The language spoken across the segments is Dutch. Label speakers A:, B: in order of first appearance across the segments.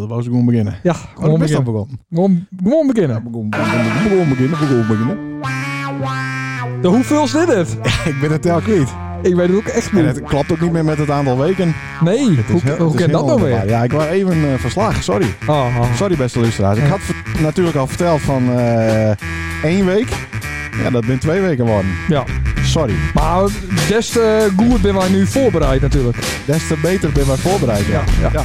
A: Laten we gewoon beginnen.
B: Ja,
A: Oh,
B: gewoon
A: dat is dan
B: beginnen.
A: begonnen.
B: Gewoon, gewoon beginnen.
A: Begon, begon, begon, beginnen, begon, beginnen.
B: De hoeveel is dit het?
A: Ik ben het telkens niet.
B: Ik weet het ook echt
A: En
B: niet.
A: het klapt ook niet meer met het aantal weken.
B: Nee,
A: Het is
B: hoe,
A: heel-
B: hoe
A: het is
B: kan dat
A: heel
B: nou
A: ondankbaar.
B: weer?
A: Ja, ik was even eh, verslagen, sorry.
B: Oh, oh.
A: Sorry beste luisteraars. Ik
B: Ja.
A: had ver- natuurlijk al verteld van eh, één week. Ja, dat ben twee weken geworden.
B: Ja.
A: Sorry.
B: Maar des te goed ben wij nu voorbereid natuurlijk.
A: Des te beter ben wij voorbereid. Ja.
B: Ja.
A: Ja.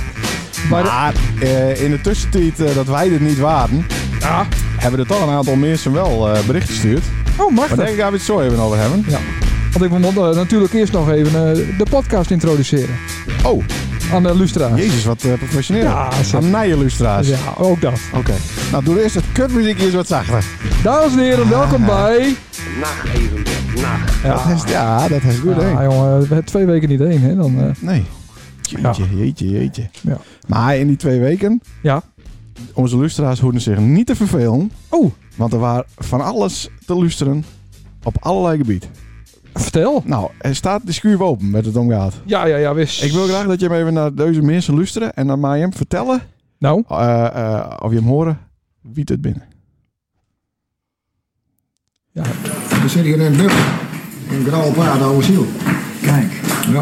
B: Maar de-
A: Maar eh, in de tussentijd eh, dat wij dit niet waren,
B: ja.
A: hebben er toch een aantal mensen wel eh, bericht gestuurd.
B: Oh, mag
A: Maar
B: dat?
A: denk ik gaan we het zo even over hebben.
B: Ja. Want ik moet eh, natuurlijk eerst nog even eh, de podcast introduceren
A: Oh,
B: aan de lustra's.
A: jezus, wat eh, professioneel.
B: Ja, zeker.
A: Aan mij, luisteraars.
B: Ja, ook dat.
A: Oké. Nou, doe eerst het kutmuziekje eens wat zachter.
B: Dames en heren, welkom
A: Ah,
B: bij...
C: Nacht even, nacht.
B: Ja,
A: Dat is, ja, dat is goed, hè?
B: ja Ah, jongen, we hebben twee weken niet heen, hè? Dan, eh,
A: Nee. Jeetje, jeetje, jeetje.
B: Ja.
A: Maar in die twee weken,
B: ja.
A: onze luisteraars hoorden zich niet te vervelen,
B: Oh,
A: want er was van alles te luisteren op allerlei gebied.
B: vertel.
A: Nou, er staat de schuur open met het omgaat.
B: Ja, ja, ja, wist.
A: Ik wil graag dat je hem even naar deze mensen luisteren en dan mij hem vertellen
B: Nou,
A: eh, eh, of je hem horen wie het binnen.
B: ja.
D: We zitten hier in een buk. In grauwe paard, oude ziel.
E: Kijk,
D: Ja.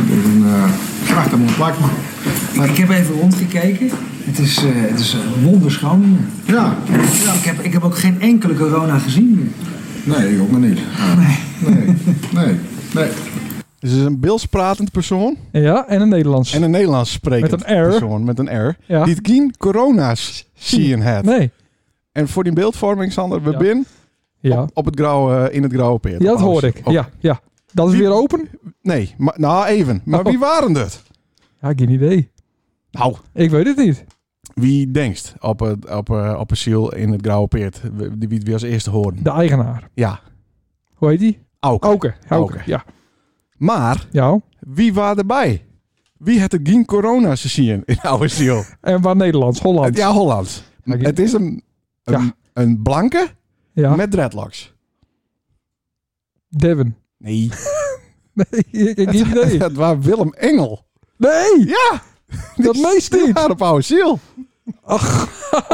D: Het is een eh gracht aan mijn plak, man.
E: maar ik heb even rondgekeken. Het is, eh, het is eh, wonderschoon hier.
D: Ja.
E: Ik, heb, ik heb ook geen enkele corona gezien meer.
D: Nee, ik ook maar niet. Ja. Nee. Nee.
F: Nou,
D: Nee.
A: Dus het is een beeldspratend persoon
B: Ja, en een Nederlands.
A: en een Nederlands sprekend
B: Met een R.
A: persoon met een R.
B: Ja.
A: Die het geen corona's zien het.
B: Nee.
A: En voor die beeldvorming, Sander, we
B: Ja.
A: bin
B: Ja.
A: op, op het grauwe, eh, in het grauwe peer.
B: Ja, dat
A: Alles.
B: hoor ik.
A: Op-
B: Ja, ja. Dat is
A: Wie-
B: weer open?
A: Nee, maar, nou even. Maar
B: Oh.
A: wie waren dat?
B: Ja, geen idee.
A: Nou,
B: Ik weet het niet.
A: wie denkst op, het, op, eh, op een ziel in het grauwe peert? Wie wie we als eerste horen?
B: De eigenaar.
A: Ja,
B: Hoe heet die?
A: ook.
B: Auke. Auke.
A: Auke.
B: Ja.
A: Maar
B: Ja.
A: wie waren erbij? Wie had er geen corona te zien in oude ziel?
B: En waar Nederlands? Holland.
A: Ja, Hollands.
B: Ja, ik-
A: Het is een, een,
B: Ja.
A: een blanke
B: Ja.
A: met dreadlocks.
B: Devin.
A: Nee,
B: Nee, ik heb geen idee.
A: dat was Willem Engel.
B: Nee,
A: Ja,
B: dat meest
A: die
B: niet.
A: waren op oude ziel.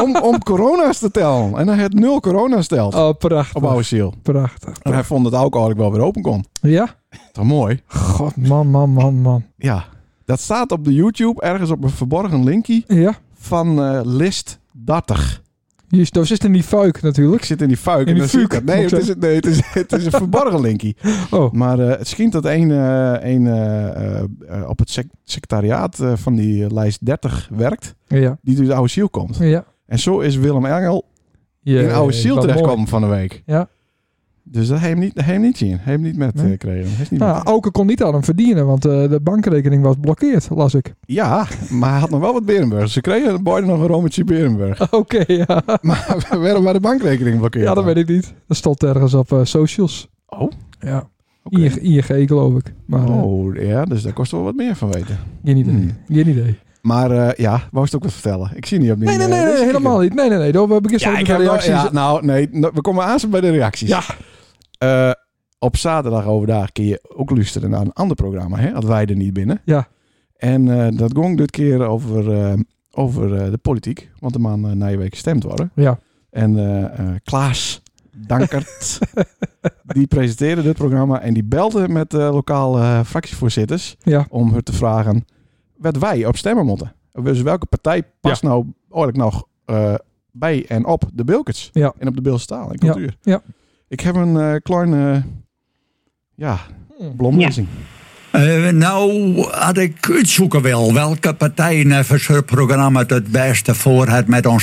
A: Om, om corona's te tellen. En hij had nul corona stelt
B: Oh,
A: op oude
B: prachtig.
A: ziel.
B: Prachtig.
A: En hij vond het ook eigenlijk wel weer open kon.
B: Ja?
A: Toch mooi?
B: God, man, man, man, man.
A: Ja. Dat staat op de YouTube ergens op een verborgen linkje
B: Ja.
A: van eh, List 30.
B: Hier dat zit in die fuik natuurlijk.
A: Ik zit in die fuik.
B: In die
A: en dan zie ik
B: fuik,
A: dat. Nee,
B: moet
A: het
B: ik
A: is, nee het, is, het is een verborgen linkje.
B: Oh.
A: Maar eh, het schijnt dat een, eh, een, eh, eh, eh, op het sec- secretariaat eh, van die eh, lijst 30 werkt.
B: Ja.
A: Die door de oude ziel komt.
B: Ja.
A: En zo is Willem Engel
B: ja
A: in oude ziel
B: wat mooi.
A: terechtkomen van de week.
B: Ja.
A: Dus dat heb je hem niet, hij hem niet zien. Hij heeft hem niet met
B: Nee.
A: eh, kregen. Hij is niet met-
B: Nou, Auke kon niet aan hem verdienen, want eh, de bankrekening was blokkeerd, las ik.
A: Ja, maar hij had nog wel wat Berenburg. Ze kregen beide nog een rommeltje Berenburg.
B: Oké, ja.
A: Maar we werden bij de bankrekening blokkeerd.
B: Ja, dat weet ik niet. Dat stond ergens op eh, socials.
A: Oh.
B: Ja.
A: Oké.
B: ING, ING, geloof ik. Maar eh,
A: Oh, ja, dus daar kost wel wat meer van weten.
B: geen idee.
A: Hmm.
B: Geen idee.
A: Maar eh, ja, wou je het ook wat vertellen? Ik zie niet op die
B: Nee, nee,
A: eh,
B: nee, nee,
A: deze
B: helemaal
A: keer.
B: niet. Nee, nee, nee. Dan- We beginnen
A: Ja,
B: zo
A: ik
B: met
A: heb
B: de
A: reacties.
B: reacties.
A: Ja, nou, nee, no- we komen aan bij de reacties.
B: Ja.
A: Eh, op zaterdag overdag kun je ook luisteren naar een ander programma, hè? Had wij er niet binnen.
B: Ja.
A: En eh, dat ging dit keer over, eh, over eh, de politiek, want de man eh, na je week gestemd worden.
B: Ja.
A: En eh, eh, Klaas Dankert, die presenteerde dit programma en die belde met de lokale eh, fractievoorzitters
B: Ja.
A: om haar te vragen wat wij op stemmen moeten. Dus welke partij past nou eigenlijk nog eh, bij en op de Bilkets
B: Ja.
A: en op de Beelse taal en cultuur.
B: Ja.
A: Ik heb een eh, kleine ja,
B: Hmm.
A: blomlezing.
G: Eh, nou, had ik uitzoeken wil welke partijen en voor zo'n programma het het beste voor had met ons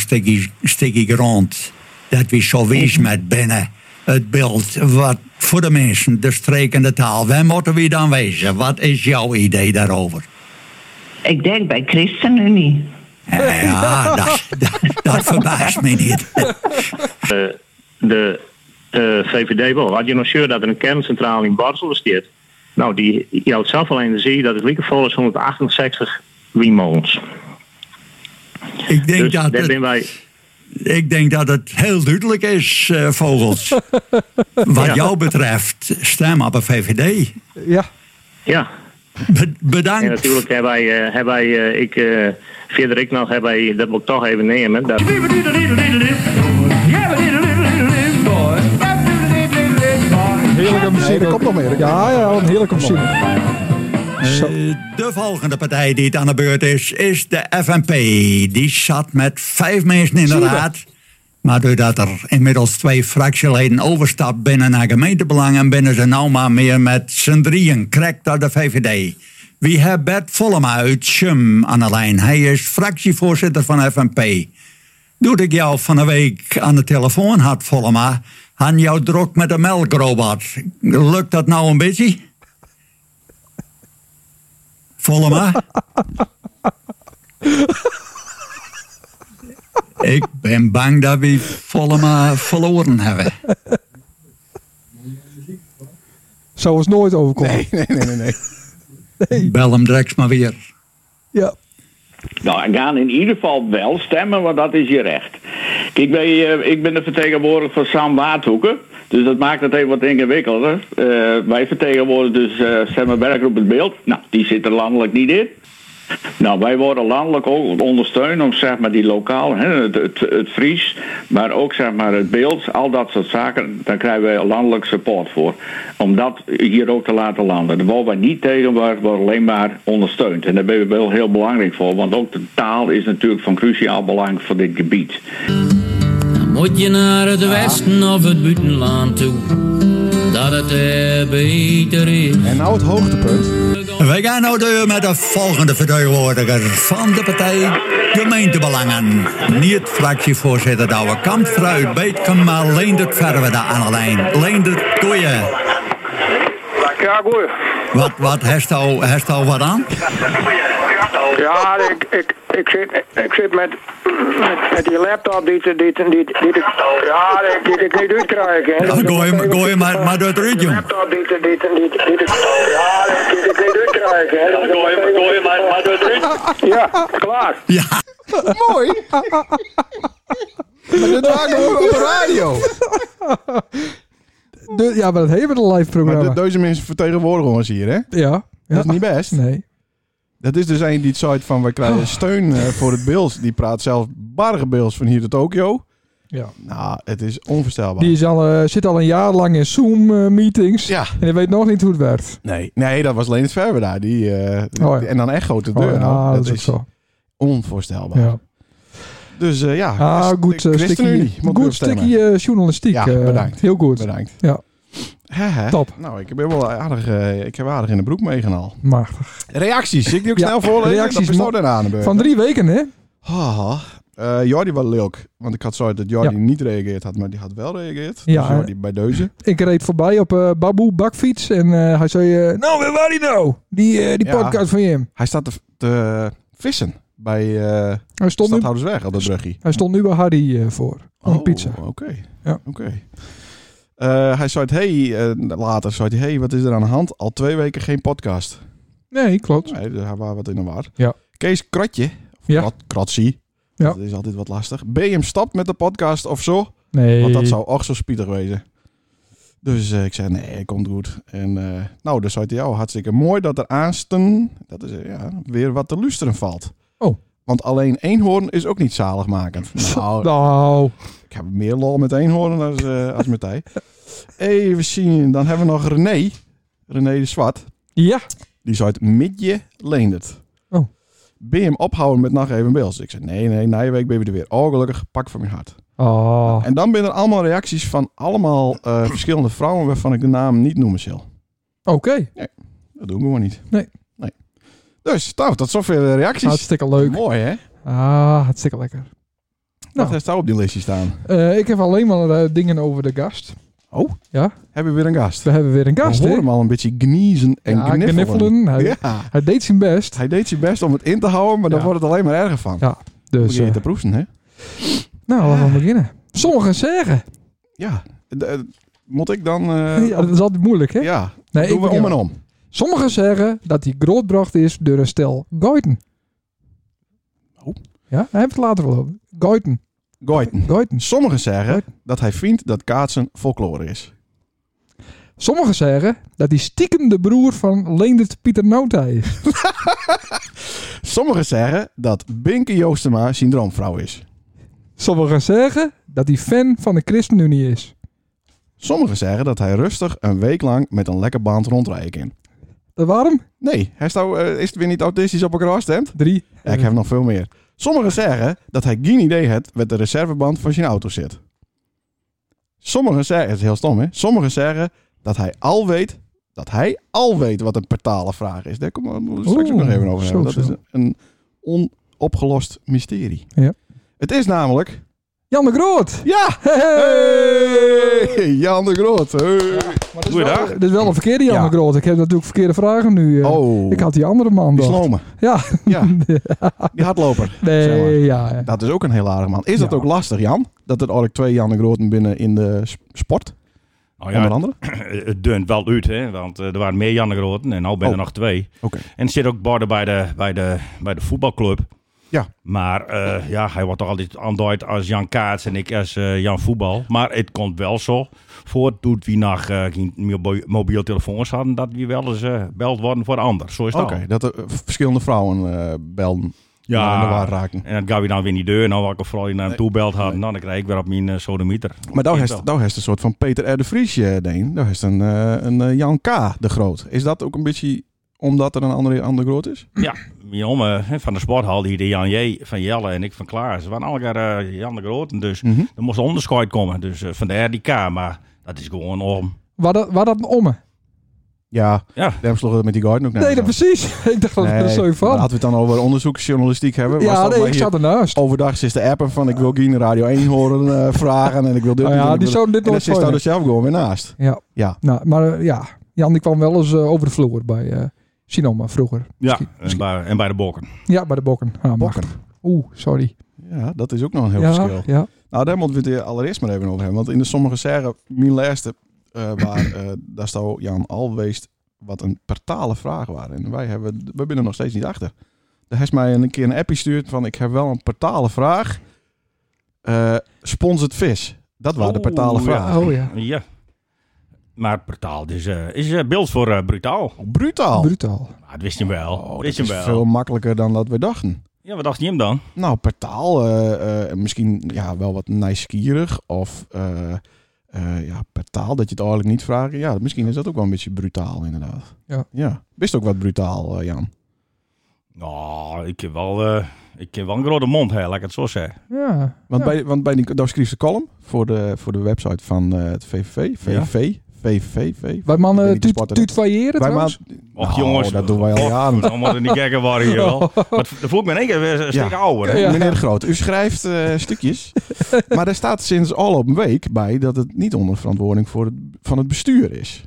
G: stukje grond. Dat we zo wees met binnen. Het beeld, wat voor de mensen, de streek en de taal. Waar moeten we dan wezen? Wat is jouw idee daarover?
H: Ik denk bij ChristenUnie.
G: Eh, ja, dat, dat, dat verbaast me niet.
C: De eh, VVD wel. Had je nog zeur dat er een kerncentrale in Barcelona staat? Nou, die, je houdt zelf alleen te zien dat het lieke vol is 168 windmolens.
G: Ik denk,
C: Dus daar
G: dat
C: ben
G: het,
C: wij...
G: ik denk dat het heel duidelijk is, eh, Vogels. Wat
C: Ja.
G: jou betreft, stem op een VVD.
B: Ja.
C: Ja,
G: Be-
C: En
G: bedankt.
C: natuurlijk hebben wij, eh, hebben wij eh, ik, eh verder ik nog, hebben wij, dat moet ik toch even nemen. Dat,
B: Heerlijke muziek.
A: er
B: ook.
A: komt nog meer, er komt
B: Ja, ja, een heerlijke muziek. Zo.
G: De volgende partij die het aan de beurt is, is de FNP. Die zat met vijf mensen in de raad. Maar doordat er inmiddels twee fractieleden overstapt binnen naar gemeentebelangen, binnen ze nou maar meer met z'n drieën. Krek door de VVD. Wie heeft Bert Vollema uit Chum aan de lijn? Hij is fractievoorzitter van FNP. Doe ik jou van de week aan de telefoon had, Vollema, aan jou drok met een melkrobot. Lukt dat nou een beetje? Vollema? ik ben bang dat we Vollema verloren hebben.
B: Zou ons nooit overkomen.
A: Nee, nee, nee, nee. nee.
G: Bel hem direct maar weer.
B: Ja.
I: Nou, gaan in ieder geval wel stemmen, want dat is je recht. Kijk, wij, eh, ik ben de vertegenwoordiger van Sam Waardhoeken. Dus dat maakt het even wat ingewikkelder. Eh, wij vertegenwoordigen dus eh Sam Bergroep het beeld. Nou, die zit er landelijk niet in. Nou, wij worden landelijk ook ondersteund om zeg maar die lokaal, hè, het, het, het Fries, maar ook zeg maar het beeld, al dat soort zaken, daar krijgen wij landelijk support voor. Om dat hier ook te laten landen. Daar worden wij niet tegen, maar we worden alleen maar ondersteund. En daar ben ik wel heel belangrijk voor, want ook de taal is natuurlijk van cruciaal belang voor dit gebied.
J: Moet je naar het westen of het buitenland toe, dat het eh, beter is.
A: En nou het hoogtepunt.
G: Wij gaan nou door met de volgende vertegenwoordiger van de partij Gemeentebelangen. Niet fractievoorzitter Douwe Kamp, Fruit Beetken, maar Leendert Verwe daar aan de lijn. Leendert, goeie.
K: Ja, goed.
G: Wat, wat, heeft jou, heeft jou wat aan?
K: Ja, ik, ik, ik zit, ik zit met, met, met die laptop die, te- die, te- die, die, die, ja, die, die ik niet uitkrijg. Hè.
G: Nou, gooi hem- gooi hem maar- maar door het ruit, jongen.
K: Die laptop die, te- die, te- die, te- die, te- ja, die, die ik niet uitkrijg. Hè. Gooi hem, maar, maar door het Ja, klaar.
G: Ja,
A: Mooi. maar dit waren we ook op de radio.
B: De- ja, maar dat hebben we een live
A: Maar
B: programma.
A: de, deze mensen vertegenwoordigen ons hier, hè?
B: ja. ja.
A: Dat is niet best.
B: Nee. Oh.
A: Dat is dus een die het zei van, wij krijgen steun eh, voor het beeld. Die praat zelf barge beeld van hier tot Tokio.
B: Ja.
A: Nou, het is onvoorstelbaar.
B: Die is al, eh, zit al een jaar lang in Zoom-meetings.
A: Ja.
B: En hij weet nog niet hoe het werkt.
A: Nee, nee, dat was Leendert Verwe daar. Die, eh, die-
B: Oh ja.
A: En dan echt grote
B: Oh,
A: deur. nou,
B: ja, dat is ook zo.
A: onvoorstelbaar.
B: Ja.
A: Dus eh, ja,
B: Ah,
A: Christ-
B: goed, eh,
A: ChristenUnie
B: stukje,
A: moet
B: goed
A: erop stemmen.
B: stukje eh, journalistiek.
A: Ja,
B: eh,
A: bedankt.
B: heel goed.
A: Bedankt.
B: Ja,
A: Hè, hè.
B: Top.
A: Nou, ik heb wel aardig, eh, ik heb aardig in de broek meegenomen.
B: machtig.
A: Reacties, ik die ook
B: Ja,
A: snel voorlezen.
B: reacties,
A: Reacties.
B: man.
A: Dat daarna aan de beurt.
B: Van drie weken, hè?
A: Haha. Eh, Jordi was leuk, want ik had zo uit dat Jordi
B: Ja.
A: niet gereageerd had, maar die had wel gereageerd.
B: Ja,
A: dus Jordi bij deuze.
B: Ik reed voorbij op eh Baboe bakfiets en eh, hij zei... eh, nou, waar was die nou? Die, eh, die
A: Ja.
B: podcast van je.
A: Hij staat te, te vissen bij eh
B: Hij stond, nu,
A: Stadhoudersweg op dat Oh. bruggie.
B: hij stond nu bij Harry eh, voor. Om een pizza.
A: Oké.
B: Ja.
A: Oké. Eh, hij zei, hey, eh, later zei hij, hey, wat is er aan de hand? Al twee weken geen podcast.
B: Nee, klopt.
A: Nee, dus hij was wat in de war.
B: Ja.
A: Kees Kratje, of
B: Ja.
A: Krat, Kratzie,
B: Ja.
A: dat is altijd wat lastig. BM stapt met de podcast of zo,
B: Nee.
A: want dat zou ook zo spietig wezen. Dus eh, ik zei, nee, komt goed. En eh, nou, dus zei hij, jou hartstikke mooi dat er aansten, dat is eh, ja, weer wat te luisteren valt.
B: Oh.
A: Want alleen eenhoorn is ook niet zaligmakend. Nou,
B: Nou,
A: ik heb meer lol met eenhoorn als, eh als met hij. Even zien, dan hebben we nog René. René de Zwart.
B: ja.
A: Die zei het midje Leendert.
B: Oh.
A: Ben je hem ophouden met nacht even beeld? Ik zei, nee, nee, na je week ben je er weer. Oh, gelukkig, pak van mijn hart.
B: Oh,
A: En dan ben er allemaal reacties van allemaal eh, verschillende vrouwen... waarvan ik de naam niet noemen zal.
B: oké.
A: Dat doen we gewoon niet.
B: Nee.
A: nee. Dus, nou, tot zover de reacties.
B: Hartstikke leuk. Nou.
A: Mooi, hè?
B: Ah, hartstikke lekker.
A: Wat heeft daar op die lijstje staan?
B: Eh, ik heb alleen maar eh, dingen over de gast.
A: Oh.
B: Ja.
A: Hebben we weer een gast?
B: We hebben weer een gast,
A: We
B: hè?
A: horen hem al een beetje gniezen en
B: Ja,
A: kniffelen.
B: kniffelen. Hij-
A: Ja.
B: Hij deed zijn best.
A: Hij deed zijn best om het in te houden, maar
B: Ja.
A: dan wordt het alleen maar erger van.
B: Ja, dus...
A: Moet je
B: eh,
A: te proesten, hè?
B: nou, laten we beginnen. Sommigen zeggen.
A: Ja. De- eh, moet ik dan... eh,
B: Ja, dat is altijd moeilijk, hè?
A: ja.
B: Nee,
A: Doen
B: ik
A: we
B: begin
A: om en
B: wel.
A: om.
B: Sommigen zeggen dat hij grootbracht is door een stel Goiten.
A: Oh.
B: Ja, hij heeft het later wel over. Goiten.
A: Goiten.
B: Goiten.
A: Sommigen zeggen dat hij vindt dat kaatsen folklore is.
B: Sommigen zeggen dat hij stiekem de broer van Leendert Pieter Nota is.
A: Sommigen zeggen dat Binke Joostema zijn droomvrouw is.
B: Sommigen zeggen dat hij fan van de ChristenUnie is.
A: Sommigen zeggen dat hij rustig een week lang met een lekker band rondrijden kan.
B: Dat waarom?
A: Nee, hij is, nou, eh, is het weer niet autistisch op elkaar afstemd?
B: Drie.
A: Ja, ik heb nog veel meer. Sommigen zeggen dat hij geen idee heeft wat de reserveband van zijn auto zit. Sommigen zeggen, het is heel stom hè, sommigen zeggen dat hij al weet, dat hij al weet wat een partale vraag is. Daar komen we straks ook nog
B: Oeh,
A: even over hebben.
B: zo,
A: Dat is
B: zo.
A: een onopgelost mysterie.
B: Ja.
A: Het is namelijk,
B: Jan de Groot!
A: ja, hey, Jan de Groot. Hey.
F: Goeiedag.
B: Dit is wel een verkeerde Jan
A: Ja.
B: de Groot. Ik heb natuurlijk verkeerde vragen nu. eh.
A: Oh,
B: Ik had die andere man
A: die
B: dan.
A: slome,
B: Ja,
A: ja, die hardloper. zeg maar.
B: nee, ja. ja.
A: Dat is ook een heel aardig man. Is dat
B: Ja.
A: ook lastig, Jan? Dat er eigenlijk twee Jan de Groten binnen in de s- sport,
F: Nou
A: onder
F: ja,
A: andere?
F: het deunt wel uit, hè, want eh, er waren meer Jan de Groten en nu ben
A: Oh.
F: er nog twee.
A: Oké.
F: En er zit ook borden bij de, bij de, bij de voetbalclub.
A: Ja.
F: Maar eh, ja, hij wordt toch altijd aanduid als Jan Kaats en ik als eh, Jan Voetbal. Maar het komt wel zo voor toen we nog eh, geen mobiel- mobiel telefoons hadden, dat we wel eens eh, beld worden voor de ander. Zo is
A: Oké,
F: dat.
A: dat er eh, verschillende vrouwen eh belden. Ja. In de war raken.
F: En dat gaan we dan weer niet deur. Nou, wat ik vooral in een toebeld had, nou, dan krijg ik weer op mijn eh, sodemieter.
A: Maar daar
F: Ik
A: heeft
F: wel.
A: daar heeft een soort van Peter R. de Vries eh, deen. Daar heeft een, eh, een eh, Jan K. de Groot. Is dat ook een beetje omdat er een andere, andere groot is?
F: Ja, mijn jongen hè, van de sporthal, die de Jan J. van Jelle en ik van Klaas. We waren allemaal eh, Jan de Groten, dus
A: Mhm.
F: er moest onderscheid komen. Dus eh, vandaar die K, maar dat is gewoon om.
B: Waar dat, waar dat een omme?
A: Ja,
F: Ja,
A: daarom sloeg het met die garden ook
B: Nee, dat
A: was
B: precies. Ik dacht dat
A: nee,
B: er zo
A: maar
B: van.
A: Laten we het dan over onderzoeksjournalistiek hebben. Was
B: Ja,
A: dat
B: nee,
A: maar
B: ik
A: hier- Oh,
B: zat ernaast.
A: Overdag is de appen van ik wil geen Radio 1 horen eh, vragen en ik wil dit
B: Nou
A: niet
B: ja,
A: en ik
B: die
A: wil-
B: zouden
A: En
B: dit
A: dan
B: nooit
A: zit daar
B: gooien.
A: dus zelf gewoon weer naast.
B: Ja.
A: Ja.
B: Nou, maar eh, ja, Jan die kwam wel eens eh, over de vloer bij eh Sinoma vroeger.
F: ja.
B: Misschien-
F: En, bij, en bij de bokken.
B: Ja, bij de Bokken. Ah,
A: Bokken.
B: machtig. Oeh, sorry.
A: Ja, dat is ook nog een heel
B: ja,
A: verschil.
B: ja.
A: Nou, daar moeten we het allereerst maar even over hebben. Want in de sommige serre, mijn laatste, eh, waar, eh, daar zou Jan al weest wat een partale vraag waren. En wij, hebben, we binnen er nog steeds niet achter. Hij heeft mij een keer een appje gestuurd van ik heb wel een partale vraag. Eh sponsort vis. Dat waren de partale
F: Oeh, ja.
A: vragen.
B: Oh ja.
F: Ja. Maar Brutaal dus, eh, is eh, beeld voor eh,
A: Oh,
F: Brutaal.
A: Brutaal.
B: Brutaal.
F: Ah, dat wist je wel.
A: Oh,
F: wist
A: dat
F: je
A: is
F: wel.
A: veel makkelijker dan dat we dachten.
F: Ja, wat dacht je hem dan?
A: Nou, partaal, eh, eh, misschien ja, wel wat nieuwsgierig of eh eh, ja, partaal dat je het eigenlijk niet vraagt. Ja, misschien is dat ook wel een beetje brutaal inderdaad.
B: Ja.
A: ja. Wist ook wat brutaal, eh, Jan.
F: Nou, ik heb wel, eh, ik heb wel een grote mond, hè, laat ik het zo zeggen.
B: Ja.
A: Want,
B: ja.
A: bij, want bij die, daar schreef ze column voor de, voor de website van eh, het VVV. VVV, VVV.
B: Wij
A: Ik ben
B: mannen
A: niet de sporter,
B: tuut failleren
A: Wij
B: trouwens.
A: ma-
F: Och
A: Nou,
F: jongens,
A: dat doen wij al
F: och,
A: jaren. Oh.
F: Dan moet je niet kijken waar je wel. Maar het voelt me in één keer weer een stuk
A: Ja.
F: ouder. hè.
B: Ja.
A: Meneer de Groot, u schrijft eh, stukjes. maar daar staat sinds al op een week bij dat het niet onder verantwoording voor het, van het bestuur is.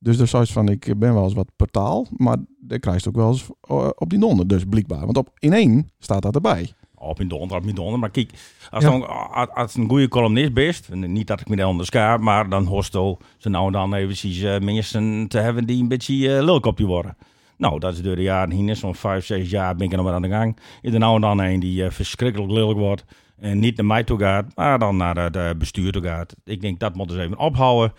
A: Dus daar zoiets van, ik ben wel eens wat portaal, maar daar krijgt ook wel eens eh, op die donder. Dus blijkbaar. Want op, in één staat dat erbij.
F: Op in donder, op in donder. Maar kijk, als,
B: Ja.
F: dan, als, als een goede columnist bent, en niet dat ik me daar onderschaap, maar dan hoort al ze nou en dan eventjes eh, mensen te hebben die een beetje eh lulkopje worden. Nou, dat is door de jaren heen, zo'n vijf, zes jaar ben ik er nog maar aan de gang. Is er nou en dan een die eh, verschrikkelijk lelijk wordt en niet naar mij toe gaat, maar dan naar het eh, bestuur toe gaat. Ik denk, dat moet eens even ophouden.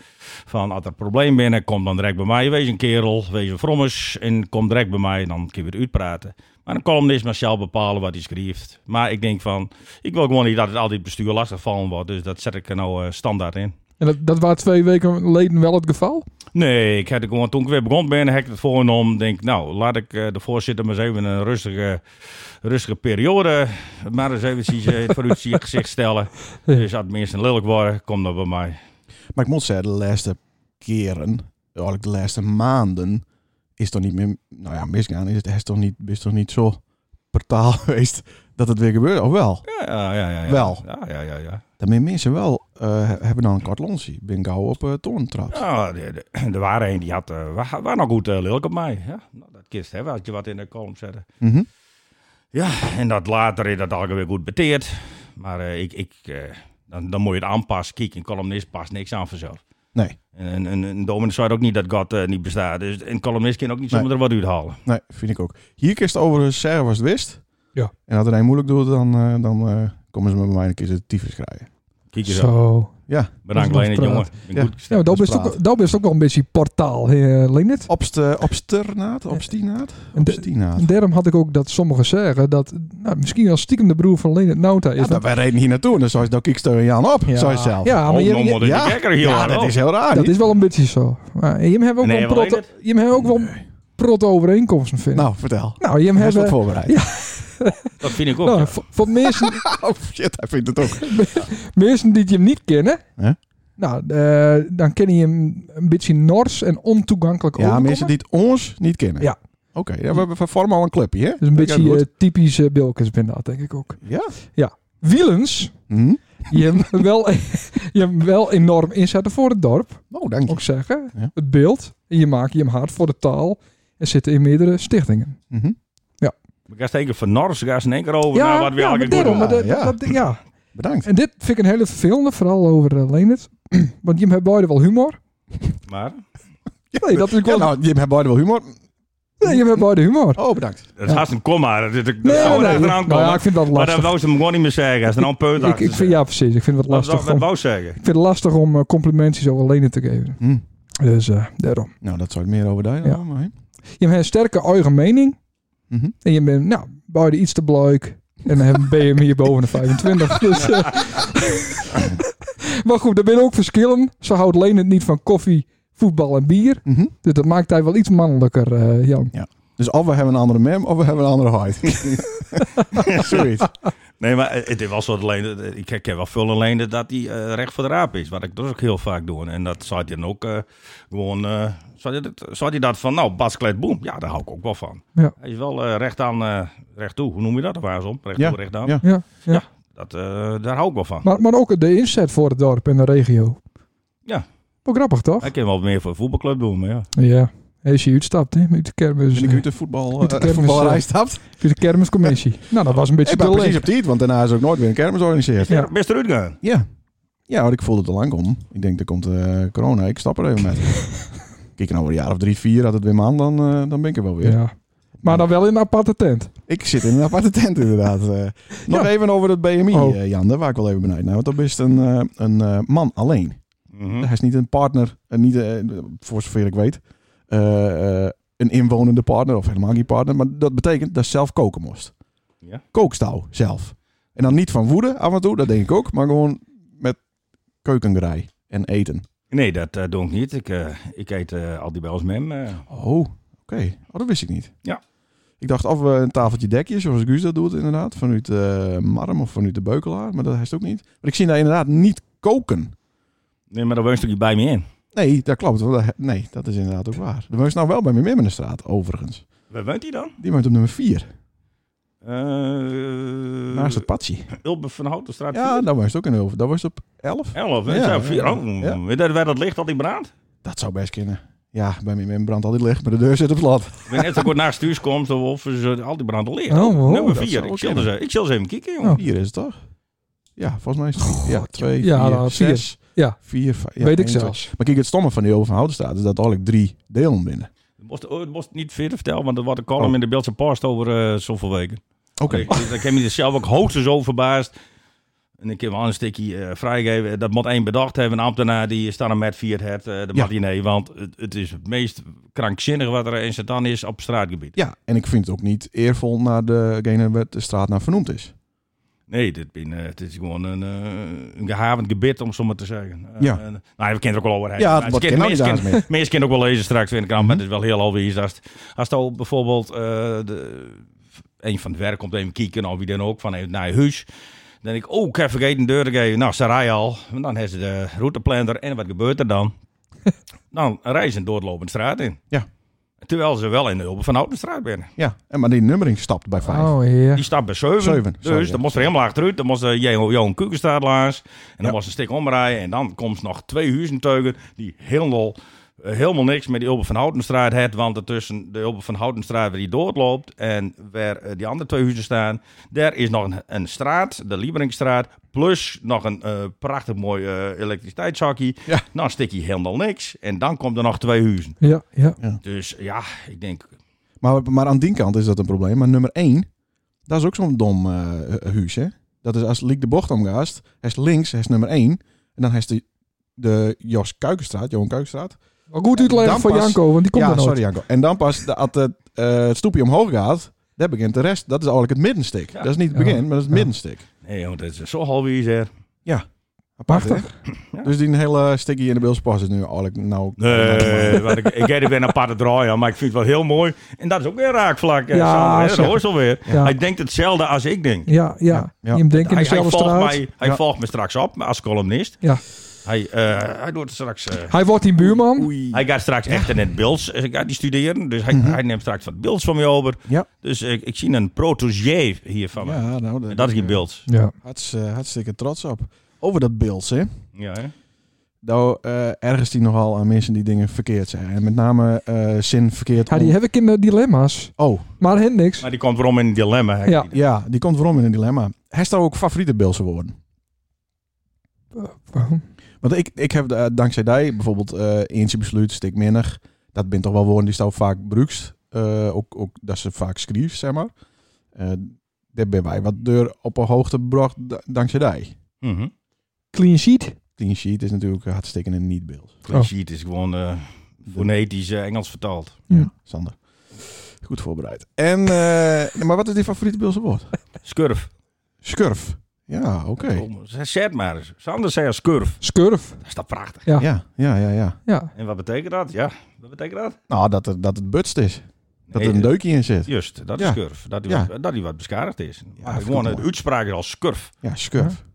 F: Van als er een probleem binnen, kom dan direct bij mij. Wees een kerel, wees een frommers en kom direct bij mij. Dan kun je het uitpraten. Maar een columnist mag zelf bepalen wat hij schrijft. Maar ik denk van, ik wil gewoon niet dat het altijd het bestuur lastig vallen wordt. Dus dat zet ik er nou eh, standaard in.
B: En dat, dat was twee weken geleden wel het geval.
F: Nee, ik had het gewoon, toen ik weer begon ben, heb ik het voorgenomen. Denk, nou, laat ik eh, de voorzitter maar eens even een rustige, rustige periode. Maar eens eventjes eh, vooruit zijn gezicht stellen. Dus als het mensen lelijk worden, kom dan bij mij.
A: Maar ik moet zeggen, de laatste keren, eigenlijk de laatste maanden, is toch niet meer, nou ja, misgaan. Is het is toch niet, is toch niet zo portaal geweest dat het weer gebeurt? Of wel?
F: Ja, ja, ja. ja, ja.
A: Wel.
F: Ja, ja, ja, ja.
A: Dan ben mensen wel, eh, hebben dan een kort lonsie. Ben gauw op eh torentrap.
F: Ja, de- de- er waren een die had, eh waar, waar nou goed eh, lelijk op mij. Ja, nou, dat kist, hè, als je wat in de column zette.
A: Mhm.
F: Ja, en dat later is dat alweer goed beteerd. Maar eh, ik, ik, eh, dan, dan moet je het aanpassen. Kijk, een columnist past niks aan vanzelf.
A: Nee.
F: En een, een, een dominee zei ook niet dat God eh, niet bestaat. Dus een columnist kan ook niet zomaar
A: Nee.
F: er wat uithalen.
A: Nee, vind ik ook. Hier kist overigens zeggen was het wist.
B: Ja.
A: En als er een moeilijk doet, dan, eh, dan eh, komen ze met mij een keer de tyfus krijgen.
F: Kijk eens aan.
B: Zo.
A: Ja.
F: Bedankt, Leonard, jongen. Ik ben
A: Ja.
F: goed
B: Ja, maar dat is ook, dat is ook wel een beetje portaal, eh, Leonard.
A: Obst, obsternaat, obstinaat, obstinaat.
B: Eh, En daarom had ik ook dat sommigen zeggen dat nou, misschien wel stiekem de broer van Leonard Nauta is.
A: Ja, dat
B: dat-
A: wij reden hier naartoe en dan zou je nou kiksteuren Jan op,
B: Ja.
A: zou je zelf.
B: Ja, maar Oh, je- nou je- moet ik
A: ja,
B: de
F: kekker hier
A: ja,
F: houden.
A: dat is heel raar.
B: dat
A: niet?
B: is wel een beetje zo. Maar Jim hebben ook
A: Nee,
B: wel
A: wel
B: prot, Jim hebben ook wel prot overeenkomsten vinden.
A: Nou, vertel.
B: Nou, Jim
A: Hij is
B: hebben
A: wat voorbereid.
F: Dat vind ik ook.
B: Nou,
F: ja.
B: voor, voor mensen,
A: Oh shit, hij vindt het ook.
B: mensen die hem niet kennen,
A: Hè?
B: nou, eh, dan ken je hem een beetje nors en ontoegankelijk
A: Ja,
B: overkomen.
A: mensen die het ons niet kennen.
B: Ja.
A: Oké, ja, we, we vormen al een clubje, hè?
B: Dus een
A: Dat gaat
B: beetje
A: goed.
B: eh, typisch eh, Bilkens ben dat, denk ik ook.
A: Ja. Mhm.
B: Ja. Wielens, je hebt hem wel, je hebt hem wel enorm inzetten voor het dorp.
A: Oh, dank je.
B: Ook zeggen. Het beeld. En je maakt je hem hard voor de taal. En zitten in meerdere stichtingen.
F: Ik ga steken van Nors, ik ga eens in één keer over
B: ja,
F: naar wat we
B: ja, maar
F: eigenlijk
B: daarom. maar
F: doen.
B: dat- dat- dat- ja.
A: Bedankt.
B: En dit vind ik een hele vervelende, vooral over eh, Leonard. Want je hebt beide wel humor.
F: Maar
B: Nee, dat is ook
A: Ja,
B: wel...
A: nou, je hebt beide wel humor.
B: Nee, je hebt beide humor.
A: Oh, bedankt.
F: het is haast een komma. Dat, Oh, dat, dat
B: Nee,
F: zou er
B: nee, nee.
F: achteraan
B: Nou
F: komen.
B: ja, ik vind dat
F: Maar
B: lastig.
F: dat wou ze hem gewoon niet meer zeggen. Als er nou een punt
B: Ik,
F: achter
B: ik
F: zit.
B: vind, ja, precies. Ik vind het wat
F: Wat- Wat
B: lastig.
F: wat
B: om-
F: wou ze zeggen?
B: ik vind het lastig om eh, complimentjes over Leonard te geven.
A: Hm.
B: Dus eh, daarom.
A: Nou, dat zou het meer over daar dan
B: Ja.
A: allemaal, hè?
B: Je hebt een sterke eigen mening.
A: Mhm.
B: En je bent, nou, beide iets te bleek. En dan hebben- ben je hier boven de 25. Dus, eh, maar goed, er zijn ook verschillen. Ze houdt Leonard niet van koffie, voetbal en bier. Dus dat maakt hij wel iets mannelijker, eh, Jan.
A: Ja. Dus of we hebben een andere mem, of we hebben een andere huid. Zoiets.
F: Nee, maar eh, het is wel zo dat Leendert- ik ken wel veel alleen dat hij eh, recht voor de raap is. Wat ik dus ook heel vaak doe. En dat zou hij dan ook eh, gewoon... eh, zou, hij dat, zou hij dat van, nou, Bas Klet, boem. Ja, daar hou ik ook wel van.
B: Ja.
F: Hij is wel eh, recht aan, eh, recht toe. Hoe noem je dat? Waar om? Recht
A: Ja,
F: toe, recht aan.
A: ja.
B: Ja, ja.
F: Dat, eh, daar hou ik wel van.
B: Maar, maar ook de inzet voor het dorp en de regio.
F: Ja.
B: Wel grappig, toch?
F: Hij kan wel meer voor een voetbalclub doen, maar ja.
B: Ja. Als je uitstapt, hè? Uit de kermis.
A: Ben ik uit
B: Uit
A: de voetbal,
B: Uit de
A: eh,
B: kermis,
A: voetbalrij
B: eh,
A: stapt.
B: de kermiscommissie. Nou, dat was een beetje
A: Ik ben
B: te
A: precies
B: licht.
A: op tijd, want daarna is ook nooit weer een kermis georganiseerd.
B: Ja.
F: Best eruit gaan.
A: Ja. Ja, want ik voelde het al lang om. Ik denk, er komt eh, corona. Ik stap er even met. Kijk, nou, over een jaar of drie, vier had het weer man, dan, eh, dan ben ik er wel weer.
B: Ja. Maar dan wel in een aparte tent.
A: Ik zit in een aparte tent, inderdaad. Eh, nog
B: Ja.
A: even over het BMI,
B: Oh.
A: eh, Jan. Daar waar ik wel even benieuwd naar. Want dat is een, eh, een eh, man alleen.
F: Mhm.
A: Hij is niet een partner, en niet, eh, voor zover ik weet, eh, eh, een inwonende partner of helemaal geen partner. Maar dat betekent dat ze zelf koken moest.
F: Ja.
A: Kookstouw zelf. En dan niet van woede af en toe, dat denk ik ook, maar gewoon met keukengerij en eten.
F: Nee, dat eh, doe ik niet. Ik, eh, ik eet eh, al die bij ons mem. eh.
A: Oh, oké. Oh, dat wist ik niet.
F: Ja.
A: Ik dacht of we een tafeltje dekje, zoals Guus dat doet inderdaad, vanuit eh, Marm of vanuit de Beukelaar, maar dat is het ook niet. Maar ik zie daar inderdaad niet koken.
F: Nee, maar daar woont een stukje bij me in.
A: Nee, dat klopt. want dat- Nee, dat is inderdaad ook waar. De woont nou wel bij mijn mim in de straat, overigens.
F: Waar woont hij dan?
A: Die woont op nummer 4,
F: Eh,
A: naast het patje.
F: Ulbe van Houtenstraat
A: Ja,
F: 4.
A: dat was het ook in Ulven. Dat was op 11.
F: 11, hè?
A: Ja,
F: Ja, 4.
A: ja,
F: Oh,
A: ja.
F: Weet je waar dat ligt, al die brand?
A: Dat zou best kunnen. Ja, bij mijn mim brandt al die licht, maar de deur zit op slot.
F: Ik ben net zo kort naast huis komt, of ze al die brand al ligt.
B: Oh, wow.
F: Nummer
A: Dat
F: 4.
A: zou
F: Ik
A: ook
F: zal
A: kunnen.
F: ze- ik zal ze even kijken, jongen.
A: 4 is het toch? Ja, volgens mij is het ja, 2,
B: Ja, nou,
A: 4,
B: vier.
A: 6,
B: Ja.
A: 4, 5.
B: Weet ik zelfs.
A: Maar kijk, het stomme van die Ulven van Houtenstraat is dat er eigenlijk drie delen binnen. Oh.
F: Het moest, oh, het moest niet verder vertellen, want er was een column in de Beeldse Post over eh zoveel weken.
A: Oké.
F: Ik, ik heb me er zelf ook hoogstens over verbaasd. En ik heb wel een stukje eh, vrijgegeven. Dat moet één bedacht hebben. Een ambtenaar die staat er met viert het. eh, dat
A: Ja.
F: mag niet, nee. Want het, het is het meest krankzinnig wat er eens dan is op straatgebied.
A: Ja, en ik vind het ook niet eervol naar degene waar de straat naar vernoemd is.
F: Nee, dit ben, eh, het is gewoon een, eh, een gehavend gebit, om zo maar te zeggen. Eh,
A: Ja.
F: eh, nou, we kennen het ook wel overheid.
A: Ja,
F: Maar
A: het wordt geen
F: mensen
A: aandacht
F: kennen- Mensen kennen ook wel lezen straks in de krant,
A: Mhm.
F: maar het is wel heel alweer. Als, als het al bijvoorbeeld eh, de, een van het werk komt even kijken, of wie dan ook, van even naar je huis. Dan denk ik, oh, ik heb vergeten de deur te geven. Nou, ze rijden al. En dan hebben ze de routeplanner. En wat gebeurt er dan? dan rijden ze een doorlopende straat in.
A: Ja.
F: Terwijl ze wel in de hulp van Oudenstraat binnen.
A: Ja, en maar die nummering stapt bij 5.
B: Oh, ja.
F: Die staat bij 7.
A: Zeven,
F: dus
A: sorry, ja.
F: dan moest er helemaal achteruit. Dan moest er Jo- Johan Kukenstraat langs. En dan moest een stuk omrijden. En dan komt nog twee huizenteugen die helemaal, eh, helemaal niks met die Ulbe van Houtenstraat had. Want er tussen de Ulbe van Houtenstraat waar die doorloopt en waar eh, die andere twee huizen staan. Daar is nog een, een straat, de Lieberingstraat. Plus nog een eh, prachtig mooi eh elektriciteitszakje. Nou,
A: Ja.
F: Dan stik je helemaal niks. En dan komt er nog twee huizen.
B: Ja, ja.
F: Dus ja, ik denk...
A: Maar, maar aan die kant is dat een probleem. Maar nummer 1, dat is ook zo'n dom eh, huis, hè? Dat is als Liek de bocht omgaast, hij is links, hij is nummer 1. En dan heeft de, de Jos Kuikenstraat, Johan Kuikenstraat.
B: Maar goed uitleggen
A: Dan
B: voor
A: pas-
B: Janko, want die komt
A: ja,
B: er nooit.
A: sorry Janko. En dan pas, de- als het, eh, het stoepje omhoog gaat, daar begint de rest. Dat is eigenlijk het middenstuk. Dat is niet het begin, maar dat is het middenstuk.
F: Nee, jongen, dat is zo half uur zeg.
A: Ja.
F: Apart,
A: Prachtig. Dus die hele sticky in de Bills Pass is nu eigenlijk nou...
F: Nee, want ik, ik heb er weer een aparte draai aan, maar ik vind het wel heel mooi. En dat is ook weer een raakvlak. eh,
B: Ja,
F: Sander, hè, dat
B: zeker.
F: hoort alweer.
B: Ja.
F: Hij denkt hetzelfde als ik denk.
B: Ja, ja. Je hem denkt in
F: Hij, hij
B: dezelfde
F: volgt,
B: straat.
F: mij, hij
B: ja.
F: volgt me straks op als columnist.
B: Ja.
F: Hij, eh, hij doet het straks. eh,
B: Hij wordt die buurman.
A: Mhm.
F: Hij gaat straks echt in het Bills eh, gaat die studeren. Dus hij, hij neemt straks wat Bills van me over. Dus eh, ik zie een protégé hier van me.
A: Ja, nou,
F: En dat is geen Bills.
B: Ja.
A: Hartst, eh, hartstikke trots op. Over dat Bills, hè.
F: Ja, hè?
A: Nou, eh, ergens die nogal aan mensen die dingen verkeerd zijn. En met name eh, zin verkeerd.
B: Ja, die heb ik in de dilemma's.
A: Oh.
B: Maar hen niks.
F: Maar die komt waarom in een dilemma. hè?
A: Ja. ja, die komt waarom in een dilemma. Hij staat ook favoriete Bilse woorden. Want ik, ik heb eh, dankzij die bijvoorbeeld eh eentje besluit, stik minder. Dat bent toch wel woorden die staan vaak bruikt. Eh, ook, ook dat ze vaak schreef, zeg maar. Eh daar ben wij wat deur op een hoogte gebracht da- dankzij die.
F: Mhm.
B: Clean sheet.
A: Clean sheet is natuurlijk hartstikke een niet-Bils.
F: Clean sheet is gewoon eh, fonetisch eh, Engels vertaald.
A: Ja, Sander. Goed voorbereid. En, eh, maar wat is die favoriete Bilse woord?
F: Skurf.
A: Skurf. Ja, oké.
F: Kom, Zet maar eens. Sander zei al skurf.
B: Skurf.
F: Dat is toch prachtig?
B: Ja.
A: Ja, ja, ja. ja.
F: En wat betekent dat? Ja, wat betekent dat?
A: Nou, dat, er, dat het butst is. Dat
F: Nee, eh,
A: er een
F: dat-
A: deukje in zit.
F: Juist, dat is
A: Ja.
F: skurf. Dat hij
A: Ja.
F: wat, dat die wat beschadigd is. Maar
A: vind ik
F: gewoon
A: mooi.
F: het uitspraak is al skurf.
A: Ja, skurf.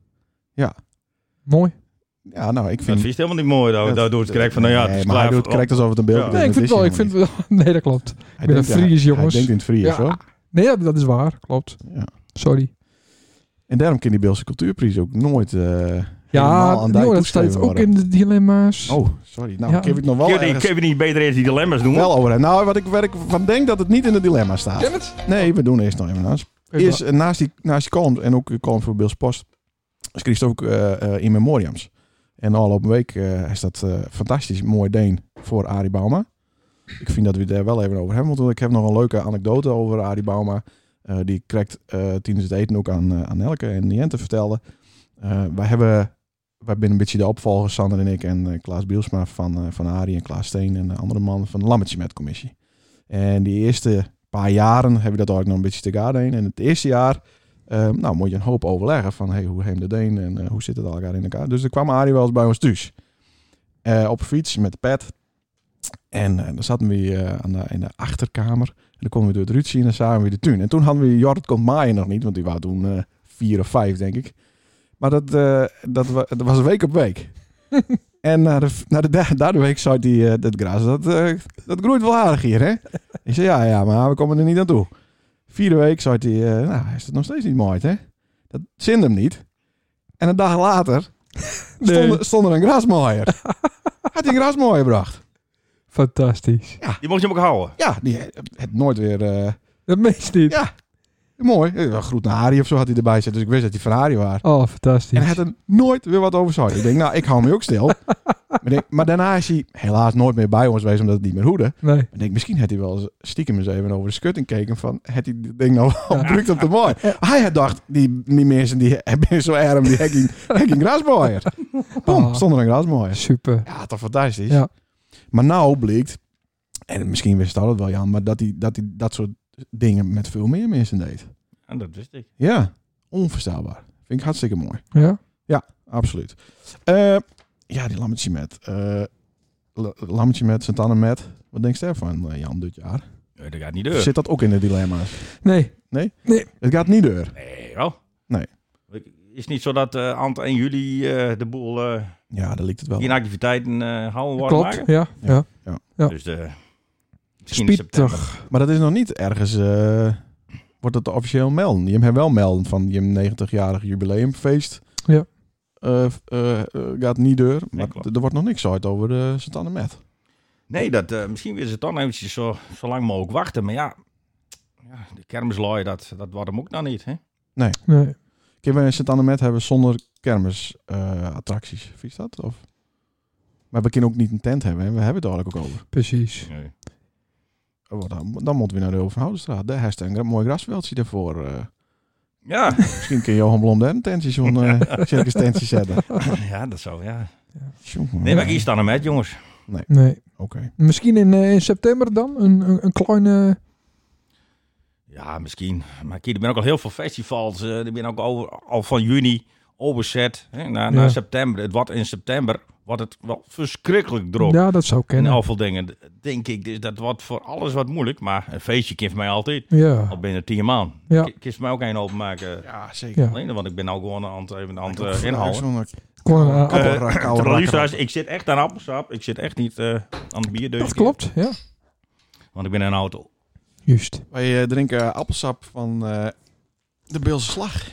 A: Ja.
B: Mooi.
A: Ja, nou, ik
F: Dat
A: vind...
F: vind je helemaal niet mooi. Dat, dat doet het correct van, nou ja, het is
A: Nee, maar hij
F: klaar
A: doet het correct alsof het een beeld is.
B: Nee, ik vind wel. Ik vind wel. Nee, dat klopt. Ik ben een
A: denkt-
B: Fries,
A: hij-
B: jongens.
A: hij denkt in het Fries,
B: Ja.
A: hoor.
B: Nee, ja, dat is waar. Klopt. Sorry.
A: En daarom kan die Beelse cultuurprijs ook nooit eh helemaal
B: Ja,
A: aan
B: die
A: die
B: hoor, dat staat
A: toeschreven
B: ook
A: worden.
B: in de dilemma's.
A: Oh, sorry. Nou,
B: Ja.
A: ik heb het nog wel
F: Kun je, die-
A: ergens-
F: kun je niet beter eens die dilemma's doen?
A: Wel over. Nou, wat ik, waar ik van denk dat het niet in het dilemma staat.
B: Ken het?
A: Nee, we doen eerst nog even naast.
B: Even
A: Eerst eh, naast die, naast die column en ook de column voor Bills Post. Schreef ook eh, eh, in memoriams. En de afgelopen week eh, is dat eh, fantastisch mooi deen voor Arie Bauma. Ik vind dat we daar wel even over hebben moeten. Ik heb nog een leuke anekdote over Arie Bauma. Eh, die krijgt eh tijdens het eten ook aan, eh, aan Elke en Niente vertelde. Eh, wij hebben wij zijn een beetje de opvolgers, Sander en ik en eh, Klaas Bielsma van, eh, van Arie en Klaas Steen en de andere man van de Lammetje met Commissie. En die eerste paar jaren hebben we dat eigenlijk nog een beetje te gaar heen. En het eerste jaar, eh, nou, moet je een hoop overleggen van hey, hoe heem de Deen en eh, hoe zit het al elkaar in elkaar. Dus er kwam Arie wel eens bij ons thuis. Eh, op fiets met de pet. En eh, dan zaten we eh, aan de, in de achterkamer. En dan konden we door het ruit zien en dan zagen we de tuin. En toen hadden we Jorrit komt maaien nog niet, want die was toen eh, vier of vijf, denk ik. Maar dat, eh, dat, wa- dat was week op week. en na de, na de da- derde week zei die eh, dat gras, dat, eh, dat groeit wel aardig hier, hè? Ik zei, ja, ja, maar we komen er niet aan toe. Vierde week zei hij, eh, nou, hij is het nog steeds niet mooi, hè? Dat zin hem niet. En een dag later stond, er- stond er een grasmaaier. Had hij een grasmaaier gebracht.
B: Fantastisch.
F: Die mocht je hem ook houden.
A: Ja, die het nooit weer... eh,
B: Dat meest niet.
A: Ja, mooi. Eh, Een groet naar Harry of zo had hij erbij zitten. Dus ik wist dat hij van Harry was.
B: Oh,
A: En
B: fantastisch.
A: hij had er nooit weer wat over gezegd. Ik denk, nou, ik hou me ook stil. maar, ik denk, maar daarna is hij helaas nooit meer bij ons geweest, omdat het niet meer hoede.
B: Nee.
A: Ik denk, misschien had hij wel eens stiekem eens even over de schutting keken van, had hij dit ding nou al gebruikt op de mooi. Hij had dacht, die, die mensen die hebben zo erg, die hacking, hacking grasmaaier. Bom,
B: Ah.
A: stond er een grasmaaier.
B: Super.
A: Ja, toch fantastisch.
B: Ja.
A: Maar nou blijkt, en misschien wist dat het wel Jan, maar dat hij dat, hij dat soort dingen met veel meer mensen deed.
F: En dat wist ik.
A: Ja, onverstaanbaar. Vind ik hartstikke mooi.
B: Ja?
A: Ja, absoluut. Eh, ja, die lammetje met. eh, la- lammetje met, Santana met. Wat denk je daarvan, eh, Jan, dit jaar?
F: Nee, dat gaat niet deur.
A: Zit dat ook in de dilemma's?
B: Nee.
A: Nee? Het gaat niet deur.
F: Nee, wel.
A: Nee.
F: Is niet zo dat eh aan het 1 juli eh, de boel eh,
A: Ja, dat lijkt het wel.
F: in activiteiten eh houden worden
B: Klopt.
F: maken?
B: Ja. Ja.
A: Ja.
F: Dus de... misschien in september.
A: Maar dat is nog niet ergens... eh, wordt dat officieel melden. Je hebt wel melden van je 90-jarig jubileumfeest.
B: Ja.
A: Eh, f- eh, eh, gaat niet deur. Maar
F: klopt.
A: d- er wordt nog niks uit over de Santana met.
F: Nee, dat, eh, misschien willen ze het dan eventjes zo, zo lang mogelijk wachten. Maar ja, ja de kermislui, dat, dat wordt hem ook nog niet. Hè?
A: Nee.
B: Nee.
A: Kunnen we Sint-Anne met hebben zonder kermisattracties? Vies dat? Of? Maar we kunnen ook niet een tent hebben. Hè? We hebben het er eigenlijk ook over.
B: Precies.
F: Nee.
A: Oh, Dan, dan moeten we naar de Overhoudenstraat. Daar heeft een gra- mooi grasveldje daarvoor. eh.
F: Ja.
A: Misschien kun Johan Blom daar een tentje, zo'n eh, circus tentje zetten.
F: ja, dat zou, ja.
A: Tjonge.
F: Nee, maar ik sta er met, jongens.
A: Nee.
B: Nee.
A: Oké.
B: Misschien in, eh, in september dan? Een, een, een kleine...
F: Ja, misschien. Maar kijk, er zijn ook al heel veel festivals. eh, er zijn ook over, al van juni overzet hè, naar, naar
B: Ja.
F: Ah, september. Het wordt in september wordt het wel verschrikkelijk druk.
B: Ja, dat zou kennen.
F: En al veel dingen, denk ik. Dus dat wordt voor alles wat moeilijk. Maar een feestje kan voor mij altijd.
B: Ja.
F: Al binnen tien man.
B: Ja.
F: Kist mij ook een openmaken.
A: Ja,
B: zeker. Ja.
F: Alleen, want ik ben nou gewoon aan het, even aan het
A: ook
F: eh,
A: voor-
F: inhouden.
A: ook zo'n,
B: Gewoon een
F: Eh,
B: appelrak,
F: terwijl
B: oude
F: liefst
B: rakker.
F: trouwens, ik zit echt aan appelsap. Ik zit echt niet eh, aan het bier. deze
B: Dat
F: keer.
B: klopt, ja.
F: Want ik ben een auto.
B: Juist.
A: Wij eh, drinken eh, appelsap van eh, de Beelse Slag.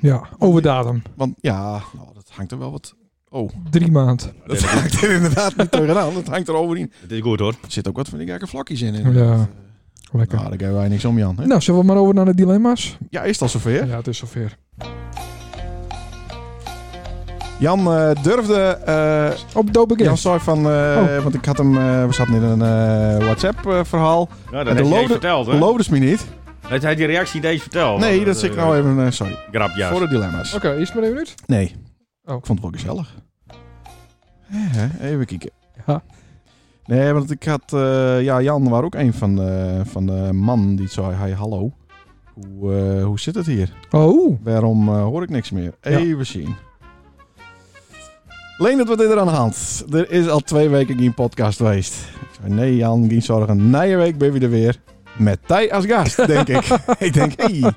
B: Ja, overdatum.
A: Want ja, nou, dat hangt er wel wat... Oh,
B: Drie maand.
A: dat hangt er inderdaad niet tegenaan. Dat hangt er overheen.
F: Het is goed hoor.
A: Er zit ook wat van die gekke vlakjes in. inderdaad.
B: Ja.
F: Ah,
B: Lekker.
A: Nou, daar gaan wij niks om, Jan. hè?
B: Nou, zullen we maar over naar de dilemma's?
A: Ja, is het al zover?
B: Ja, het is zover.
A: Jan eh, durfde... eh,
B: Op Dope Against.
A: Jan zei van... eh,
B: Oh.
A: Want ik had hem... eh, we zaten in een eh, WhatsApp-verhaal.
F: Ja, dat heeft hij even verteld, hè?
A: loodde ze me niet.
F: Heeft hij die reactie niet eens verteld?
A: nee,
F: Want,
A: dat
F: eh,
A: zit ik nou even... eh, sorry.
F: Grap, juist.
A: Voor de dilemma's.
B: Oké, eerst maar even uit.
A: Nee.
B: Oh.
A: Ik vond het wel gezellig. Hè, Even kijken.
B: Ja.
A: Nee, want ik had... eh, ja, Jan was ook een van de, van de man die zei... Hey, hallo. Hoe, eh, hoe zit het hier?
B: Oh,
A: Waarom eh, hoor ik niks meer?
B: Ja.
A: Even zien. Leendert, wat is er aan de hand? Er is al twee weken geen podcast geweest. Ik zei, nee Jan, geen zorgen. Na je week ben je er weer. Met Thij als gast, denk ik. ik denk, hey,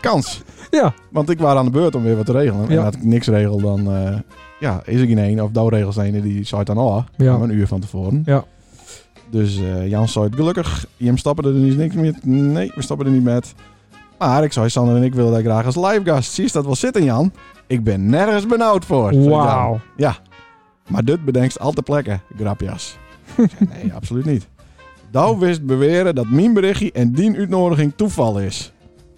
A: kans.
B: Ja.
A: Want ik was aan de beurt om weer wat te regelen. En
B: Ja.
A: als ik niks regel, dan eh, ja, is er geen één. Of douwregels een die zei dan al.
B: Ja.
A: Een uur van tevoren.
B: Ja.
A: Dus eh, Jan zei, gelukkig. Je stappen er dus niks meer. Nee, we stappen er niet met. Maar ik zei, Sander en ik willen daar graag als livegast. Zie je dat wel zitten, Jan? Ik ben nergens benauwd voor. zei Jan.
B: wauw.
A: Ja. Maar dit bedenkt al te plekken, grapjas. Ik zei, nee, absoluut niet. Douw wist beweren dat mijn berichtje en dien uitnodiging toeval is.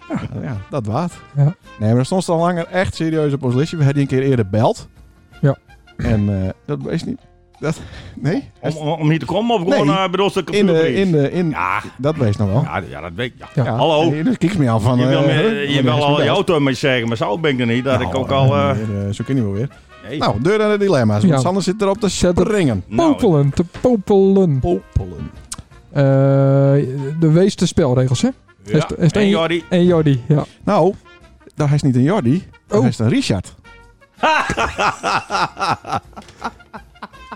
A: Ja, ja dat waard.
B: Ja.
A: Nee, maar er stond al langer echt serieus op ons listje. We hadden die een keer eerder belt.
B: Ja.
A: En eh, dat is niet... Dat, nee?
F: Om, om, om niet te komen of gewoon
A: Nee.
F: eh bedoel ze
A: In de...
F: computerbrief?
A: In de in,
F: Ja,
A: Dat wees nog wel.
F: ja, ja, dat weet ik. Ja.
B: Ja.
F: Hallo.
A: Nee, dus kijk me al van...
F: je wil,
A: eh,
F: me-
A: huh?
F: je wil al je auto mee zeggen, maar zo ben ik er niet. Dat ik ook al... eh,
A: Nou, eh, zo kun je niet meer weer.
F: nee.
A: Nou, deur naar de dilemma's. Want
B: Ja.
A: Sander zit erop te
B: Zet het-
A: springen.
F: Nou,
B: Popelen, te popelen.
A: Popelen.
B: Eh, de wees de spelregels, hè?
F: ja.
B: Is het- is het
F: en
B: een-
F: Jordi.
B: En Jordi, ja.
A: Nou, daar is niet een Jordi. Daar
B: Oh.
A: is een Richard.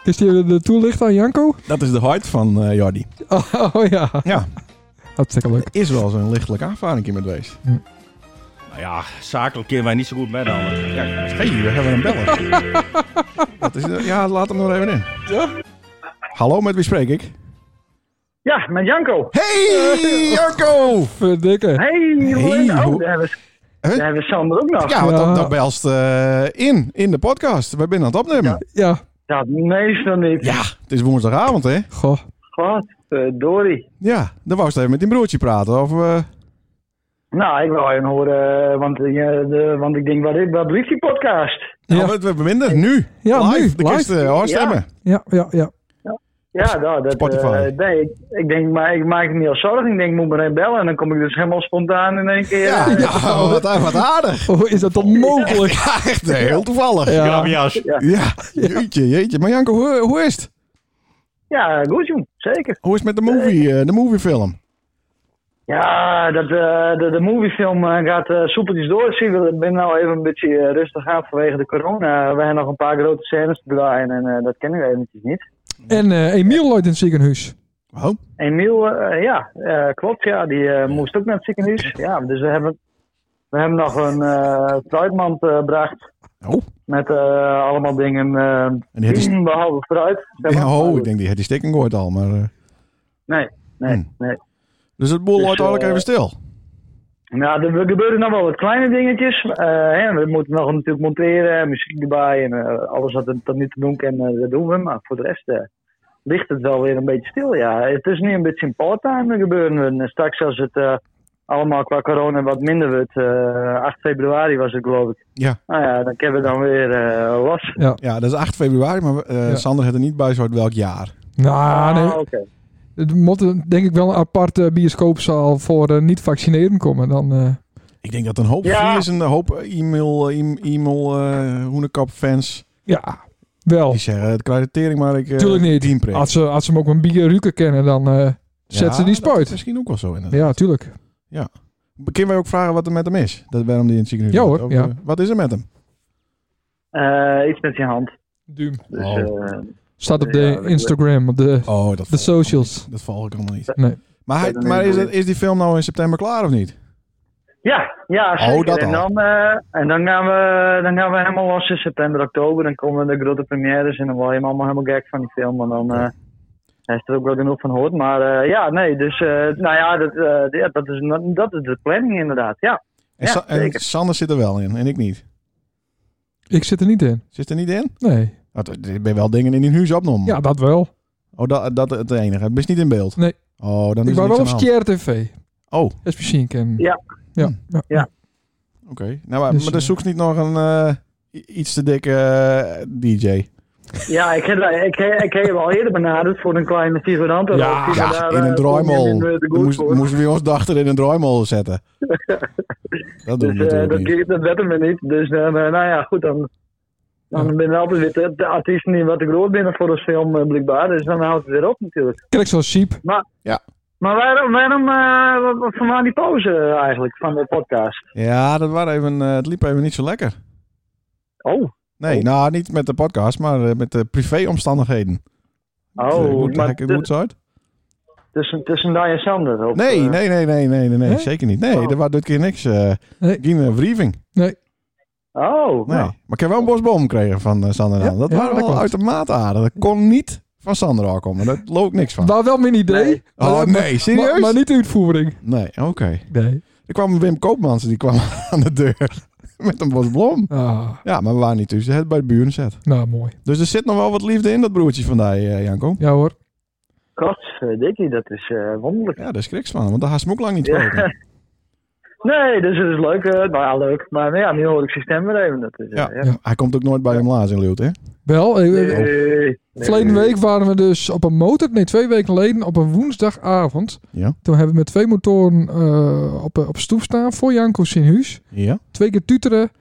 B: Is die de, de toelicht aan Janko?
A: Dat is de hart van eh, Jordi.
B: Oh, ja,
A: Ja,
B: hartstikke leuk.
A: is wel zo'n lichtelijke aanvaring met geweest.
F: Nou ja, zakelijk kunnen wij niet zo goed met handen. Ja,
A: Hé, hey, we hebben een beller. Dat is, eh, ja, laat hem nog even in. Hallo, met wie spreek ik?
K: Ja, met Janko.
A: Hey, Janko!
B: Verdikke.
K: Hey, Roland.
A: Hey, hoe-
K: oh, daar hebben, we,
A: Huh?
K: daar hebben we Sander ook nog.
A: Ja, want
B: Ja.
A: dat, dat belst eh, in, in de podcast. We zijn aan het opnemen.
B: Ja,
K: Dat meestal niet.
A: Ja, het is woensdagavond, hè?
B: goh.
K: God, Dory.
A: Ja, dan wou ze even met die broertje praten. Of, eh,
K: Nou, ik wil even horen, eh, want, eh, de, want ik denk, wat, is- wat blijft die podcast?
B: Ja.
A: nou, wat we minder, nu.
B: Ja,
A: live,
B: nu,
A: de kist
B: live.
A: uh, stemmen.
B: Ja, ja, ja.
K: Ja, nou, dat,
A: Spotify.
K: eh, nee, ik, ik denk, maar ik maak me niet al zorgen. Ik denk, ik moet maar even bellen. En dan kom ik dus helemaal spontaan in één keer.
A: Ja,
K: eh,
A: ja, wat, wat aardig.
B: Oh, is dat dan mogelijk?
A: Ja, echt eh, heel toevallig. Ja,
B: Ja,
F: grapjas.
A: jeetje, jeetje. Maar Janko, hoe, hoe is het?
K: ja goed jong, zeker.
A: Hoe is het met de movie, eh, de moviefilm?
K: Ja, dat, eh, de, de moviefilm eh, gaat eh soepeltjes door. Zie, we- ik ben nou even een beetje eh, rustig aan vanwege de corona. We hebben nog een paar grote scènes te draaien en eh, dat kennen we eventjes niet.
B: En eh, Emiel looit in het ziekenhuis.
A: Oh,
K: Emiel, eh, ja, eh, klopt. Ja, die eh, moest ook naar het ziekenhuis. Ja, dus we hebben, we hebben nog een eh fruitmand eh, gebracht.
A: Oh.
K: Met eh, allemaal dingen eh,
A: en die had die,
K: behalve fruit. Zeg maar.
A: ja, oh ik denk die had die stikken gehoord al. Maar, eh,
K: Nee, nee,
A: Hmm.
K: nee.
A: dus het boel
K: Dus,
A: loopt eigenlijk
K: eh,
A: even stil.
K: Nou, er gebeuren nog wel wat kleine dingetjes. Eh, hè, we moeten nog natuurlijk monteren, muziek erbij en eh, alles wat er tot nu toe doen kan, eh, dat doen we. Maar voor de rest eh, ligt het wel weer een beetje stil. Ja, het is nu een beetje in part-time er gebeuren. En eh, straks als het eh, allemaal qua corona wat minder wordt, eh, 8 februari was het geloof ik.
A: Ja.
K: Nou ja, dan kunnen we dan weer eh los.
A: Ja, dat is 8 februari, maar eh,
B: Ja.
A: Sander had er niet bij zo'n welk jaar. Ah,
B: Nou, nee.
K: Ah, oké.
B: Het moet eh, denk ik wel een aparte bioscoopzaal voor eh, niet-vaccineren komen. Dan, eh,
A: Ik denk dat een hoop
B: Ja.
A: is een hoop e-mail, eh, e- e-mail eh hoenekap fans.
B: Ja,
K: Oh.
B: wel.
A: Die zeggen, het krijgt de tering, maar ik... eh,
B: Tuurlijk
A: tien
B: niet.
A: prik."
B: Als ze, als ze hem ook een bier ruiken kennen, dan eh zet
A: Ja,
B: ze die
A: dat
B: spuit.
A: is misschien ook wel zo inderdaad.
B: Ja, tuurlijk.
A: Ja. Kunnen wij ook vragen wat er met hem is? Dat waarom die in het ziekenhuis
B: Ja
A: ligt?
B: hoor,
A: Ook,
B: ja.
A: eh, Wat is er met hem?
K: Eh, iets met zijn hand.
B: Duum.
K: Dus,
A: Oh.
K: eh,
B: Staat op de
K: ja, dat-
B: Instagram, op de,
A: oh, dat
B: de socials.
A: Dat volg ik allemaal niet.
B: Nee.
A: Maar, hij,
K: Dat is
A: maar
K: een
A: is, dat,
K: goeie.
A: is die film nou in september klaar of niet?
K: Ja, ja
A: Oh,
K: zeker.
A: dat
K: en
A: al.
K: dan, eh, en dan, gaan we, dan gaan we helemaal los in september, oktober. Dan komen de grote premières en dan word je allemaal helemaal gek van die film. En dan eh hij is er ook wel genoeg van hoort. Maar eh, ja, nee, dus eh, nou ja, dat, eh, ja dat, is, dat is de planning inderdaad, ja.
A: En,
K: ja,
A: Sa- en
K: zeker.
A: Sander zit er wel in en ik niet.
B: Ik zit er niet in.
A: Zit er niet in? Oh,
B: Nee.
A: Want er ben wel dingen in die huis opgenomen.
B: Ja, dat wel.
A: Oh, dat, dat het enige. Het is niet in beeld.
B: Nee.
A: Oh, dan
B: ik
A: is er
B: wou wel op
A: niks aan de hand.
B: Stier TV.
A: Oh,
B: Dat is misschien kennen.
K: Ja.
B: Ja.
A: Hmm.
B: ja.
K: Ja.
A: oké. Nou, maar,
B: Dus,
A: maar dan
B: eh,
A: zoek ze niet nog een eh, i- iets te dikke eh, DJ.
K: Ja, ik heb, eh, ik, heb- ik heb je al eerder benaderd voor een kleine figurant.
A: Ja,
K: eh,
A: in een draaimol. Dan moest- Moesten we ons dachter in een draaimol zetten. dat doen
K: Dus
A: we
K: eh,
A: natuurlijk
K: dat,
A: niet.
K: dat wetten we niet. Dus eh, nou ja, goed, dan, dan ben je altijd weer de, de artiesten die wat te groot binnen voor een film eh, blijkbaar. Dus dan houdt het weer op natuurlijk.
B: Kijk zo'n sheep.
K: Maar,
A: Ja.
K: maar waarom, waarom eh, wat- wat- van waar die pauze eh, eigenlijk van de podcast?
A: Ja, dat waren even, eh, het liep even niet zo lekker.
K: Oh,
A: Nee,
K: Oh.
A: nou niet met de podcast, maar eh, met de privéomstandigheden. Eh,
K: oh
A: Goed, leg
K: maar
A: ik het goed
K: t-
A: zo uit?
K: tussen, tussen Dai en Sander. Op,
A: Nee,
K: eh,
A: nee, nee, nee, nee, nee, nee,
B: Nee?
A: zeker niet. Nee,
K: Oh.
A: er was dit keer niks. eh
B: Nee.
A: Geen eh, wrijving.
B: Nee.
K: Oh,
A: Nee.
K: nou.
A: Maar ik heb wel een bosboom gekregen van eh, Sander. en
B: Ja,
A: Anne. dat
B: ja,
A: waren
B: dat
A: wel
B: klopt.
A: uitermate aardig. Dat kon niet van Sander al komen. Daar loopt niks van.
B: Waar wel mijn idee.
K: Nee.
B: Maar-
A: Oh,
B: maar-
A: nee, serieus?
B: Maar, maar niet de uitvoering.
A: Nee, oké.
B: Nee.
A: Er kwam Wim Koopmans, die kwam aan de deur met een bosblom.
B: Ah,
A: Ja, maar we waren niet tussen. Het bij de buren zet.
B: nou, mooi.
A: Dus er zit nog wel wat liefde in dat broertje van die, eh, Janko.
B: Ja hoor.
K: Dikkie, dat is eh, wonderlijk.
A: Ja, daar schriks van, want daar had ze hem ook lang niet
K: Ja.
A: gesproken.
K: Nee, dus het is leuk. eh, nou ja, leuk. Maar ja, nu hoor ik zijn stem weer even. Dat is, eh,
A: Ja.
K: ja.
B: Ja.
A: Hij komt ook nooit bij hem laas in Leeuwarden, hè?
B: Wel, eh, eh,
K: Nee, nee.
B: Verleden week waren we dus op een motor, nee twee weken geleden, op een woensdagavond.
A: Ja.
B: Toen hebben we met twee motoren eh, op, op stoep staan voor Janko zijn huis.
A: Ja.
B: Twee keer tuteren.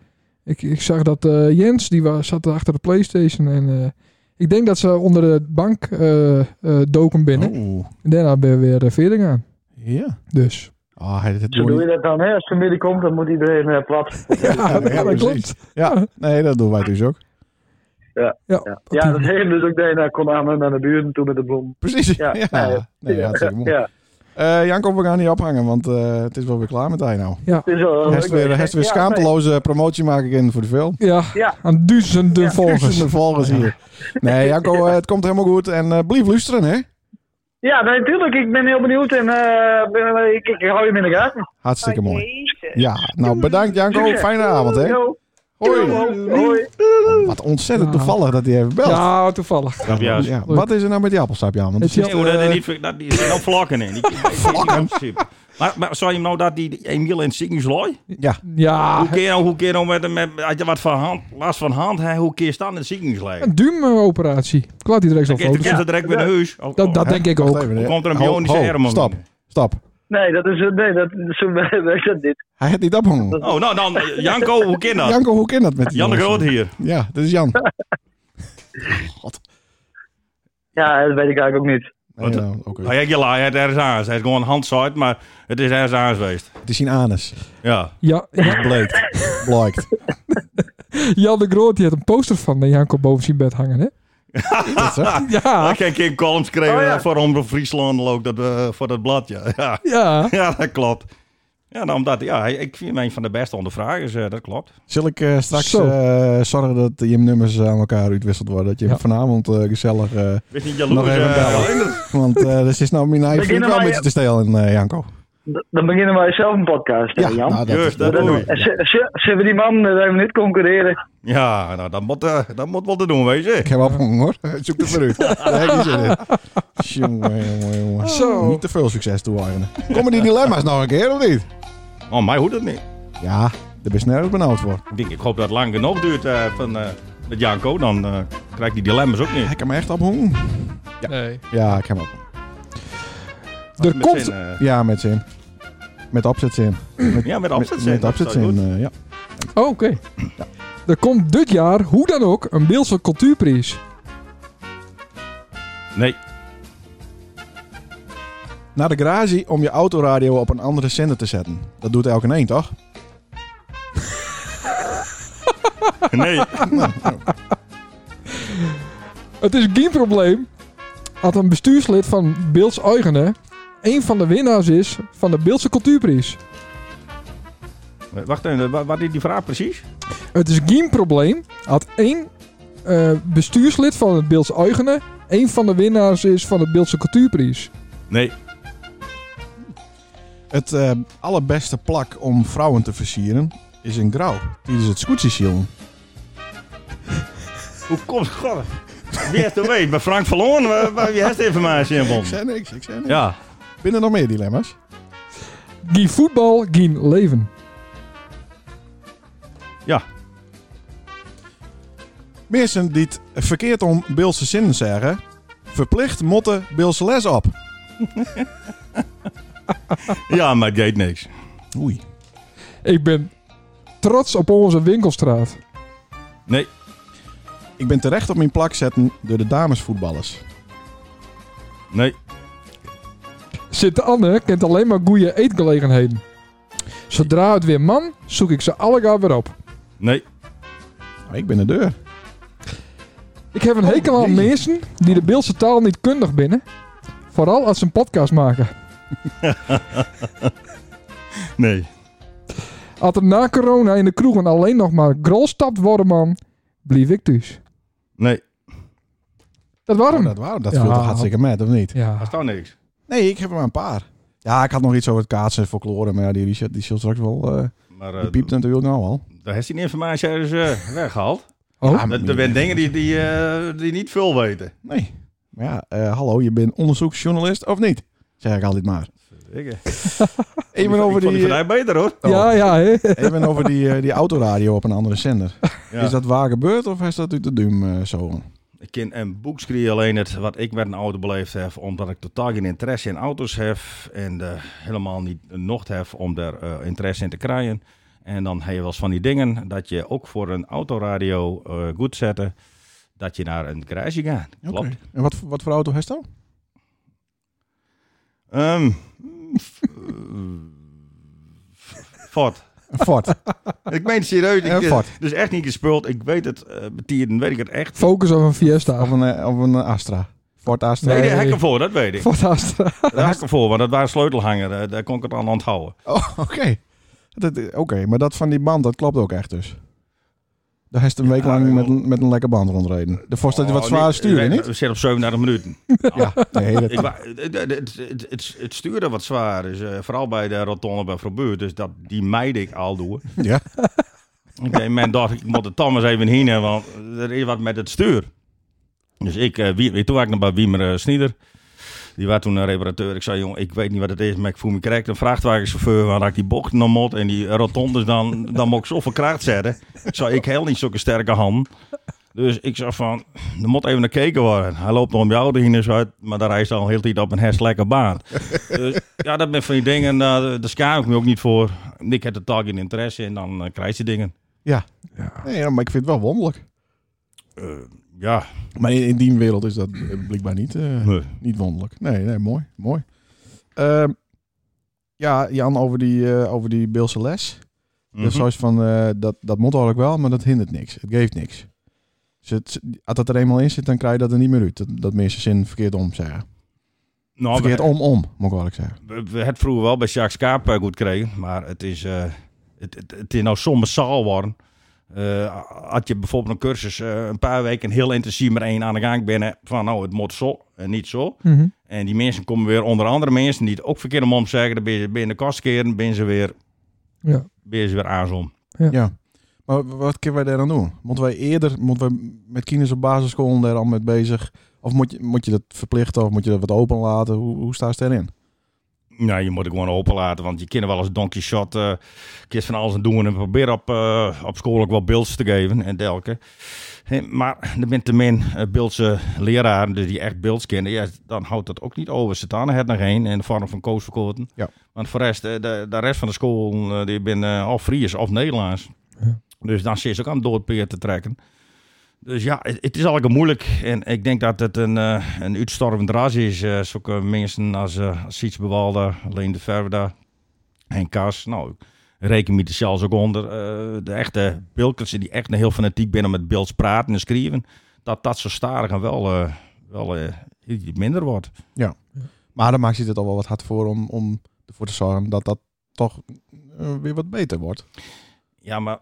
B: Ik, ik zag dat eh, Jens, die was, zat achter de Playstation en eh, ik denk dat ze onder de bank eh, eh, doken binnen.
A: Oeh.
B: En daarna ben je weer de vering aan.
A: Ja.
B: Dus.
A: Ah, hij het
K: Zo doe je dat dan, hè? Als familie komt, dan moet iedereen eh, plat.
B: Ja, dat,
A: ja,
B: dat
A: precies.
B: klopt.
A: Ja, nee, dat doen wij dus ook.
B: Ja, op die
K: Ja, dat heeft dus ook daarna kon aan naar de buren toe met de bloem.
A: Precies. Ja,
K: Ja, nee.
A: nee, ja, hartstikke mooi.
K: Ja,
A: Eh, Janko, we gaan niet ophangen, want eh, het is wel weer klaar met hij nou.
K: het is wel
A: Hij is weer, hij is weer schaamteloze promotie maak ik in voor de film.
B: Ja,
K: Ja.
B: aan duizenden volgers.
A: Duizenden volgers hier. Nee, Janko, eh, het komt helemaal goed. En eh blijf luisteren, hè.
K: Ja, nee, tuurlijk. Ik ben heel benieuwd en eh, ben- ik, ik hou je in de gaten.
A: Hartstikke mooi. Ja, nou bedankt Janko. Fijne avond, hè.
K: Yo.
A: Hoi.
K: Hoi.
A: Wat ontzettend
B: Ja.
A: toevallig dat hij even belt.
B: Ja, toevallig.
F: Ja,
A: Ja, wat is er nou met die appelsapje aan? Want
B: Het
A: het is
B: is-
F: Nee, hoor, dat
A: eh,
F: is niet, dat die zijn vlakken in. Die, die- die- die- die- maar, maar zou je hem nou dat die Emiel in het ziekenhuis looi?
A: ja.
B: Ja,
F: Hoe keer nou, hoe keer nou met, met als je wat van hand, last van hand, hè, hoe keer staan in het ziekenhuis liggen?
B: een duumoperatie. Ik laat die direct zo'n
F: Dan
B: foto
F: komt er direct weer naar huis. Al-
B: Dat, dat
A: Oh, Hè?
B: denk ik
A: Wacht
B: ook.
A: even,
F: Hoe
A: hè.
F: komt er een
A: Ho,
F: bionische
A: ho,
F: hermen
A: Stap,
F: binnen?
A: stap.
K: Nee, dat is, eh, nee, dat, zo werkt dat dit.
A: Hij heeft niet opgehangen.
F: Oh, nou dan, eh, Janko, hoe keer dat?
A: Janko, hoe kan dat met die
F: Jan de
A: jongens?
F: Groot hier.
A: Ja, dat is Jan. God.
K: Ja, dat weet ik eigenlijk ook niet.
A: Nee,
F: Wat?
A: nou, oké.
F: Hij heeft je laai, hij heeft ergens aan. Hij is gewoon handsuit, maar het is ergens aan geweest.
A: Het is zijn anus.
F: Ja.
B: Ja, ja,
A: Bleekt. Blijkt.
B: Jan de Groot die had een poster van eh, Janko boven zijn bed hangen, hè?
A: Dat zo?
B: Ja,
F: Ik heb geen columns gekregen
K: Oh, ja.
F: eh, voor Omroep Friesland, ook dat, eh, voor dat blad, ja. ja.
B: ja.
F: Ja, dat klopt. Ja, nou, omdat, ja, hij- ik vind hem een van de beste ondervragers, eh, dat klopt.
A: Zal ik eh, straks
B: Zo.
A: eh, zorgen dat je nummers aan elkaar uitwisseld worden? Dat je
B: Ja.
A: vanavond eh, gezellig eh,
F: Wees niet
A: nog
F: jaloers.
A: even
F: eh,
A: bellen. Want eh er is nou mijn eigen
K: Beginnen
A: vriend wel een
K: wij-
A: beetje te stelen, eh, Janko.
K: D- Dan beginnen wij zelf een podcast, hè,
A: Ja,
K: Jan.
A: nou, dat,
F: Juist,
A: dat,
F: dat doe
K: En z- z- Zullen we die man eh, even niet concurreren?
F: ja, nou, dat moet, eh, dat moet wel te doen, weet je.
A: Ik heb opgehangen hoor. Zoek het maar uit. Daar heb je zin in. Jongen, jongen, jongen.
B: Zo.
A: Niet te veel succes toe eigenen. Komen die dilemma's nog een keer of niet?
F: Oh, mij hoeft het niet.
A: Ja, daar ben je nergens benauwd voor.
F: Ik, denk, ik hoop dat het lang genoeg duurt eh, van, eh, met Janko, dan eh krijg ik die dilemma's ook niet.
A: Ik heb me echt ophangen.
B: Nee.
A: Ja, ik heb hem op.
B: Er
F: Met
B: komt,
F: zijn, eh,
A: Ja, met zin. Met, Met opzetzin. Met,
F: Ja, met opzetzin.
A: Met,
F: Dat is wel
A: opzetzin, eh, ja.
B: Oh, Oké. Er komt dit jaar, hoe dan ook, een Beeldse cultuurprijs.
A: eh.
F: Nee.
A: Naar de garage om je autoradio op een andere zender te zetten. Dat doet elke een, toch?
F: Nee.
B: Het is geen probleem. Had een bestuurslid van Beelds Eigenen een van de winnaars is van de Beeldse cultuurprijs.
F: Wacht even, wa- wat is die vraag precies?
B: Het is geen probleem. Had één eh, bestuurslid van het Beelds Eigenen een van de winnaars is van de Beeldse cultuurprijs.
F: Nee.
A: Het eh, allerbeste plak om vrouwen te versieren is een grauw. Die is het scootjeshiel.
F: Hoe komt God? Wie heeft er weet? Bij Frank Verloren? Waar- waar- Wie heeft de informatie in
A: Ik
F: bond?
A: zei niks, ik zei niks.
F: Ja.
A: Binnen er nog meer dilemma's?
B: Geen voetbal, geen leven.
F: Ja.
A: Mensen die het verkeerd om Beelse zinnen zeggen, verplicht motten Beelse les op.
F: Ja, maar het deed niks.
A: Oei.
B: Ik ben trots op onze winkelstraat.
F: Nee.
A: Ik ben terecht op mijn plak zetten door de damesvoetballers.
F: Nee.
B: Sint Anne kent alleen maar goede eetgelegenheden. Zodra het weer man, zoek ik ze allegaar weer op.
F: Nee.
A: Nou, ik ben de deur.
B: Ik heb een
A: Oh,
B: hekel aan mensen die de Beeldse taal niet kundig binnen. Vooral als ze een podcast maken.
F: Nee.
B: Als er na corona in de kroegen alleen nog maar grol stapt worden, man, blief ik thuis.
F: Nee.
B: Dat warm.
A: Oh, dat waarom? Dat
B: Hm. Ja.
A: viel toch hartstikke met, of niet?
B: Ja.
F: Dat is toch niks.
A: Nee, ik heb er maar een paar. Ja, ik had nog iets over het kaatsen en folklore, maar ja, die Richard die zult straks wel... eh
F: Maar
A: die
F: eh
A: piept natuurlijk nou al.
F: daar heeft hij die informatie dus eh, weggehaald.
B: Oh.
A: Ja,
F: Dat- Er zijn dingen die, die, eh, die niet veel weten.
A: Nee. Maar ja, eh, hallo, je bent onderzoeksjournalist of niet? Zeg ik altijd maar.
F: Ik, eh, ik
A: Even
F: vond
A: over
F: die
A: die,
F: van mij beter hoor.
A: Oh.
B: Ja, ja, hè?
A: even over die, eh, die autoradio op een andere zender.
F: Ja.
A: Is dat waar gebeurd of is dat uit de duim eh, zo?
F: Ik ken een boekskrie alleen het wat ik met een auto beleefd heb, omdat ik totaal geen interesse in auto's heb en eh, helemaal niet nocht heb om daar eh, interesse in te krijgen. En dan heb je wel eens van die dingen dat je ook voor een autoradio eh, goed zetten, dat je naar een garage gaat. Klopt.
A: Oké. En wat, voor- wat voor auto heeft dat?
F: Ehm, f- eh, Ford.
A: Een Ford.
F: Ik meen het serieus.
A: Een
F: Ik,
A: Ford.
F: het is echt niet gespeeld. Ik weet het, eh betieren, weet ik het echt.
B: Focus op een Fiesta.
A: Of een, eh, of een Astra. Ford Astra.
F: Nee,
B: Nee.
F: de hekken voor, dat weet ik.
B: Ford Astra.
F: Daar had ik hem voor, want dat waren sleutelhanger. eh, Daar kon ik het aan onthouden.
A: Oh, oké. Dat- eh, Oké, maar dat van die band, dat klopt ook echt dus. Daar heeft een week lang met, een- met een lekker band rondreden. De Ford staat
F: eh, Oh,
A: wat zwaar
F: niet-
A: sturen,
F: nee,
A: niet?
F: We zitten op 37 minuten.
A: Ja. Nee, dat,
F: Ik, wa- het, het, het, het, het stuurde wat zwaar is. eh, vooral bij de rotonde bij Verbuur. Dus dat, die meid ik al door.
A: ja.
F: Oké, men dacht, ik moet de Thomas even heen, want er is wat met het stuur. Dus ik, eh, wie, toen was ik nog bij Wiemer eh, Snieder. Die was toen een reparateur. Ik zei, jong, ik weet niet wat het is, maar ik voel me correct. Een vrachtwagenchauffeur, waar had ik die bocht nog mot en die rotondes, dan, dan moet ik zoveel kracht zetten. Ik zei, ik heel niet zulke sterke hand. Dus ik zei van, er moet even naar keken worden. Hij loopt om jou heen en zo uit, maar daar rijdt hij al heel tijd op een herst lekker baan. Dus ja, dat ben van die dingen, eh, daar schaam ik me ook niet voor. Ik heb er totaal geen interesse in, dan eh, krijg je dingen.
A: Ja. Nee, ja, maar ik vind het wel wonderlijk.
F: Ja, Mhm.
A: Maar in, in die wereld is dat eh, blijkbaar niet, eh,
F: Nee.
A: niet wonderlijk. Nee, nee, mooi. mooi. Ehm, ja, Jan, over die, eh, over die Beelse les.
F: Mhm.
A: Dus zoals van, eh, dat, dat moet eigenlijk wel, maar dat hindert niks. Het geeft niks. Dus het, als dat er eenmaal in zit, dan krijg je dat er niet meer uit. Dat, dat mensen zin verkeerd om zeggen.
F: Nou,
A: verkeerd
F: we,
A: om, om, moet ik wel zeggen.
F: we, we het vroeger wel bij Jacques Kaap eh, goed kregen, maar het is, eh, het, het, het is nou soms zaal worden. Eh, had je bijvoorbeeld een cursus eh, een paar weken heel intensief met één aan de gang binnen van nou het moet zo en niet zo.
B: Mhm.
F: En die mensen komen weer onder andere mensen die het ook verkeerd om om zeggen, dan ben je, ben je in de kast keren, ben je ze weer,
B: Ja.
F: ben je ze weer aanzom.
A: Ja. Maar w- wat kunnen wij daar aan doen? Moeten wij eerder, moeten wij met kinderen op basisschool daar al mee bezig? Of moet je, moet je dat verplichten of moet je dat wat open laten? Hoe, hoe sta je erin?
F: Nou, je moet het gewoon openlaten, want je kan wel eens donkey shot, eh kun je van alles aan doen en probeer op, eh, op school ook wat beelds te geven en dergelijke. Hè, maar er bent te min eh, beeldse leraren, dus die echt beelds kennen, ja, dan houdt dat ook niet over. Satana het nog heen in de vorm van koosverkoten.
A: Ja.
F: Want voor de rest, eh, de, de rest van de school, eh, die ben eh, of Fries of Nederlands. Dus dan zit ze ook aan het doodpeer te trekken. Dus ja, het, het is eigenlijk moeilijk. En ik denk dat het een, eh, een uitstorvend ras is. eh zulke mensen als, eh als Siets Bewalda, Leen de Verda, Henk Kas. Nou, ik reken me er zelfs ook onder. eh, de echte Bilkersen, die echt een heel fanatiek binnen met beelds praten en schrijven. Dat dat zo starig en wel, eh, wel eh, iets minder wordt.
A: Ja. Maar dan maakt je het al wel wat hard voor om, om ervoor te zorgen dat dat toch eh, weer wat beter wordt.
F: Ja, maar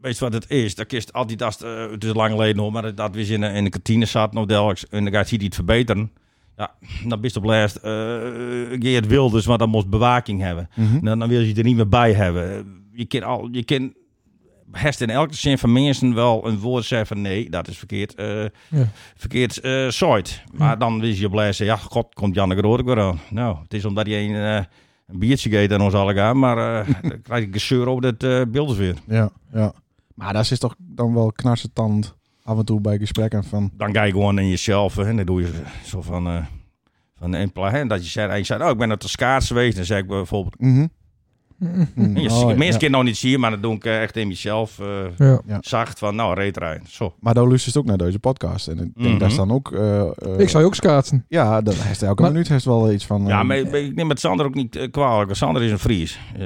F: weet je wat het is? Dat kist altijd als eh, het is lang geleden hoor, maar dat we eens in, de- in de kantine zaten of dergelijks en dan gaat hij het verbeteren. Ja, dan bist op laatst eh Geert Wilders, want dan moest bewaking hebben.
A: Mhm.
F: dan, dan wil je er niet meer bij hebben. Je kan al, je kan herst in elke zin van mensen wel een woord zeggen van nee, dat is verkeerd, eh
B: Ja.
F: verkeerd eh site. Maar dan wist je blij ja, god, komt Janneke Rood ook weer aan. Nou, het is omdat hij een, eh, een biertje geeft aan ons allemaal, maar eh dan krijg ik een zeur over dat eh beeld weer.
A: Ja, ja. Maar daar zit toch dan wel knarsetand af en toe bij gesprekken van...
F: dan ga je gewoon in jezelf hè, en dan doe je zo van, eh van een pla- hè, dat je zei, en je zei, oh, ik ben naar de schaats geweest, dan zeg ik bijvoorbeeld,
A: Mhm.
F: en je, ziet-
A: Oh, ja.
F: mensen kunnen nog niet zien, maar dan doe ik eh, echt in mezelf eh,
A: Ja. Ja.
F: zacht van, nou, reed rijden, zo.
A: Maar daar luistert ook naar deze podcast. En ik denk
F: Mhm.
A: daar staan ook... eh, eh,
B: Ik zou je ook schaatsen.
A: Ja, dat heeft elke minuut heeft wel iets van...
F: Ja,
A: eh,
F: maar ik- ik neem het Sander ook niet eh, kwalijk, want Sander is een Fries. Eh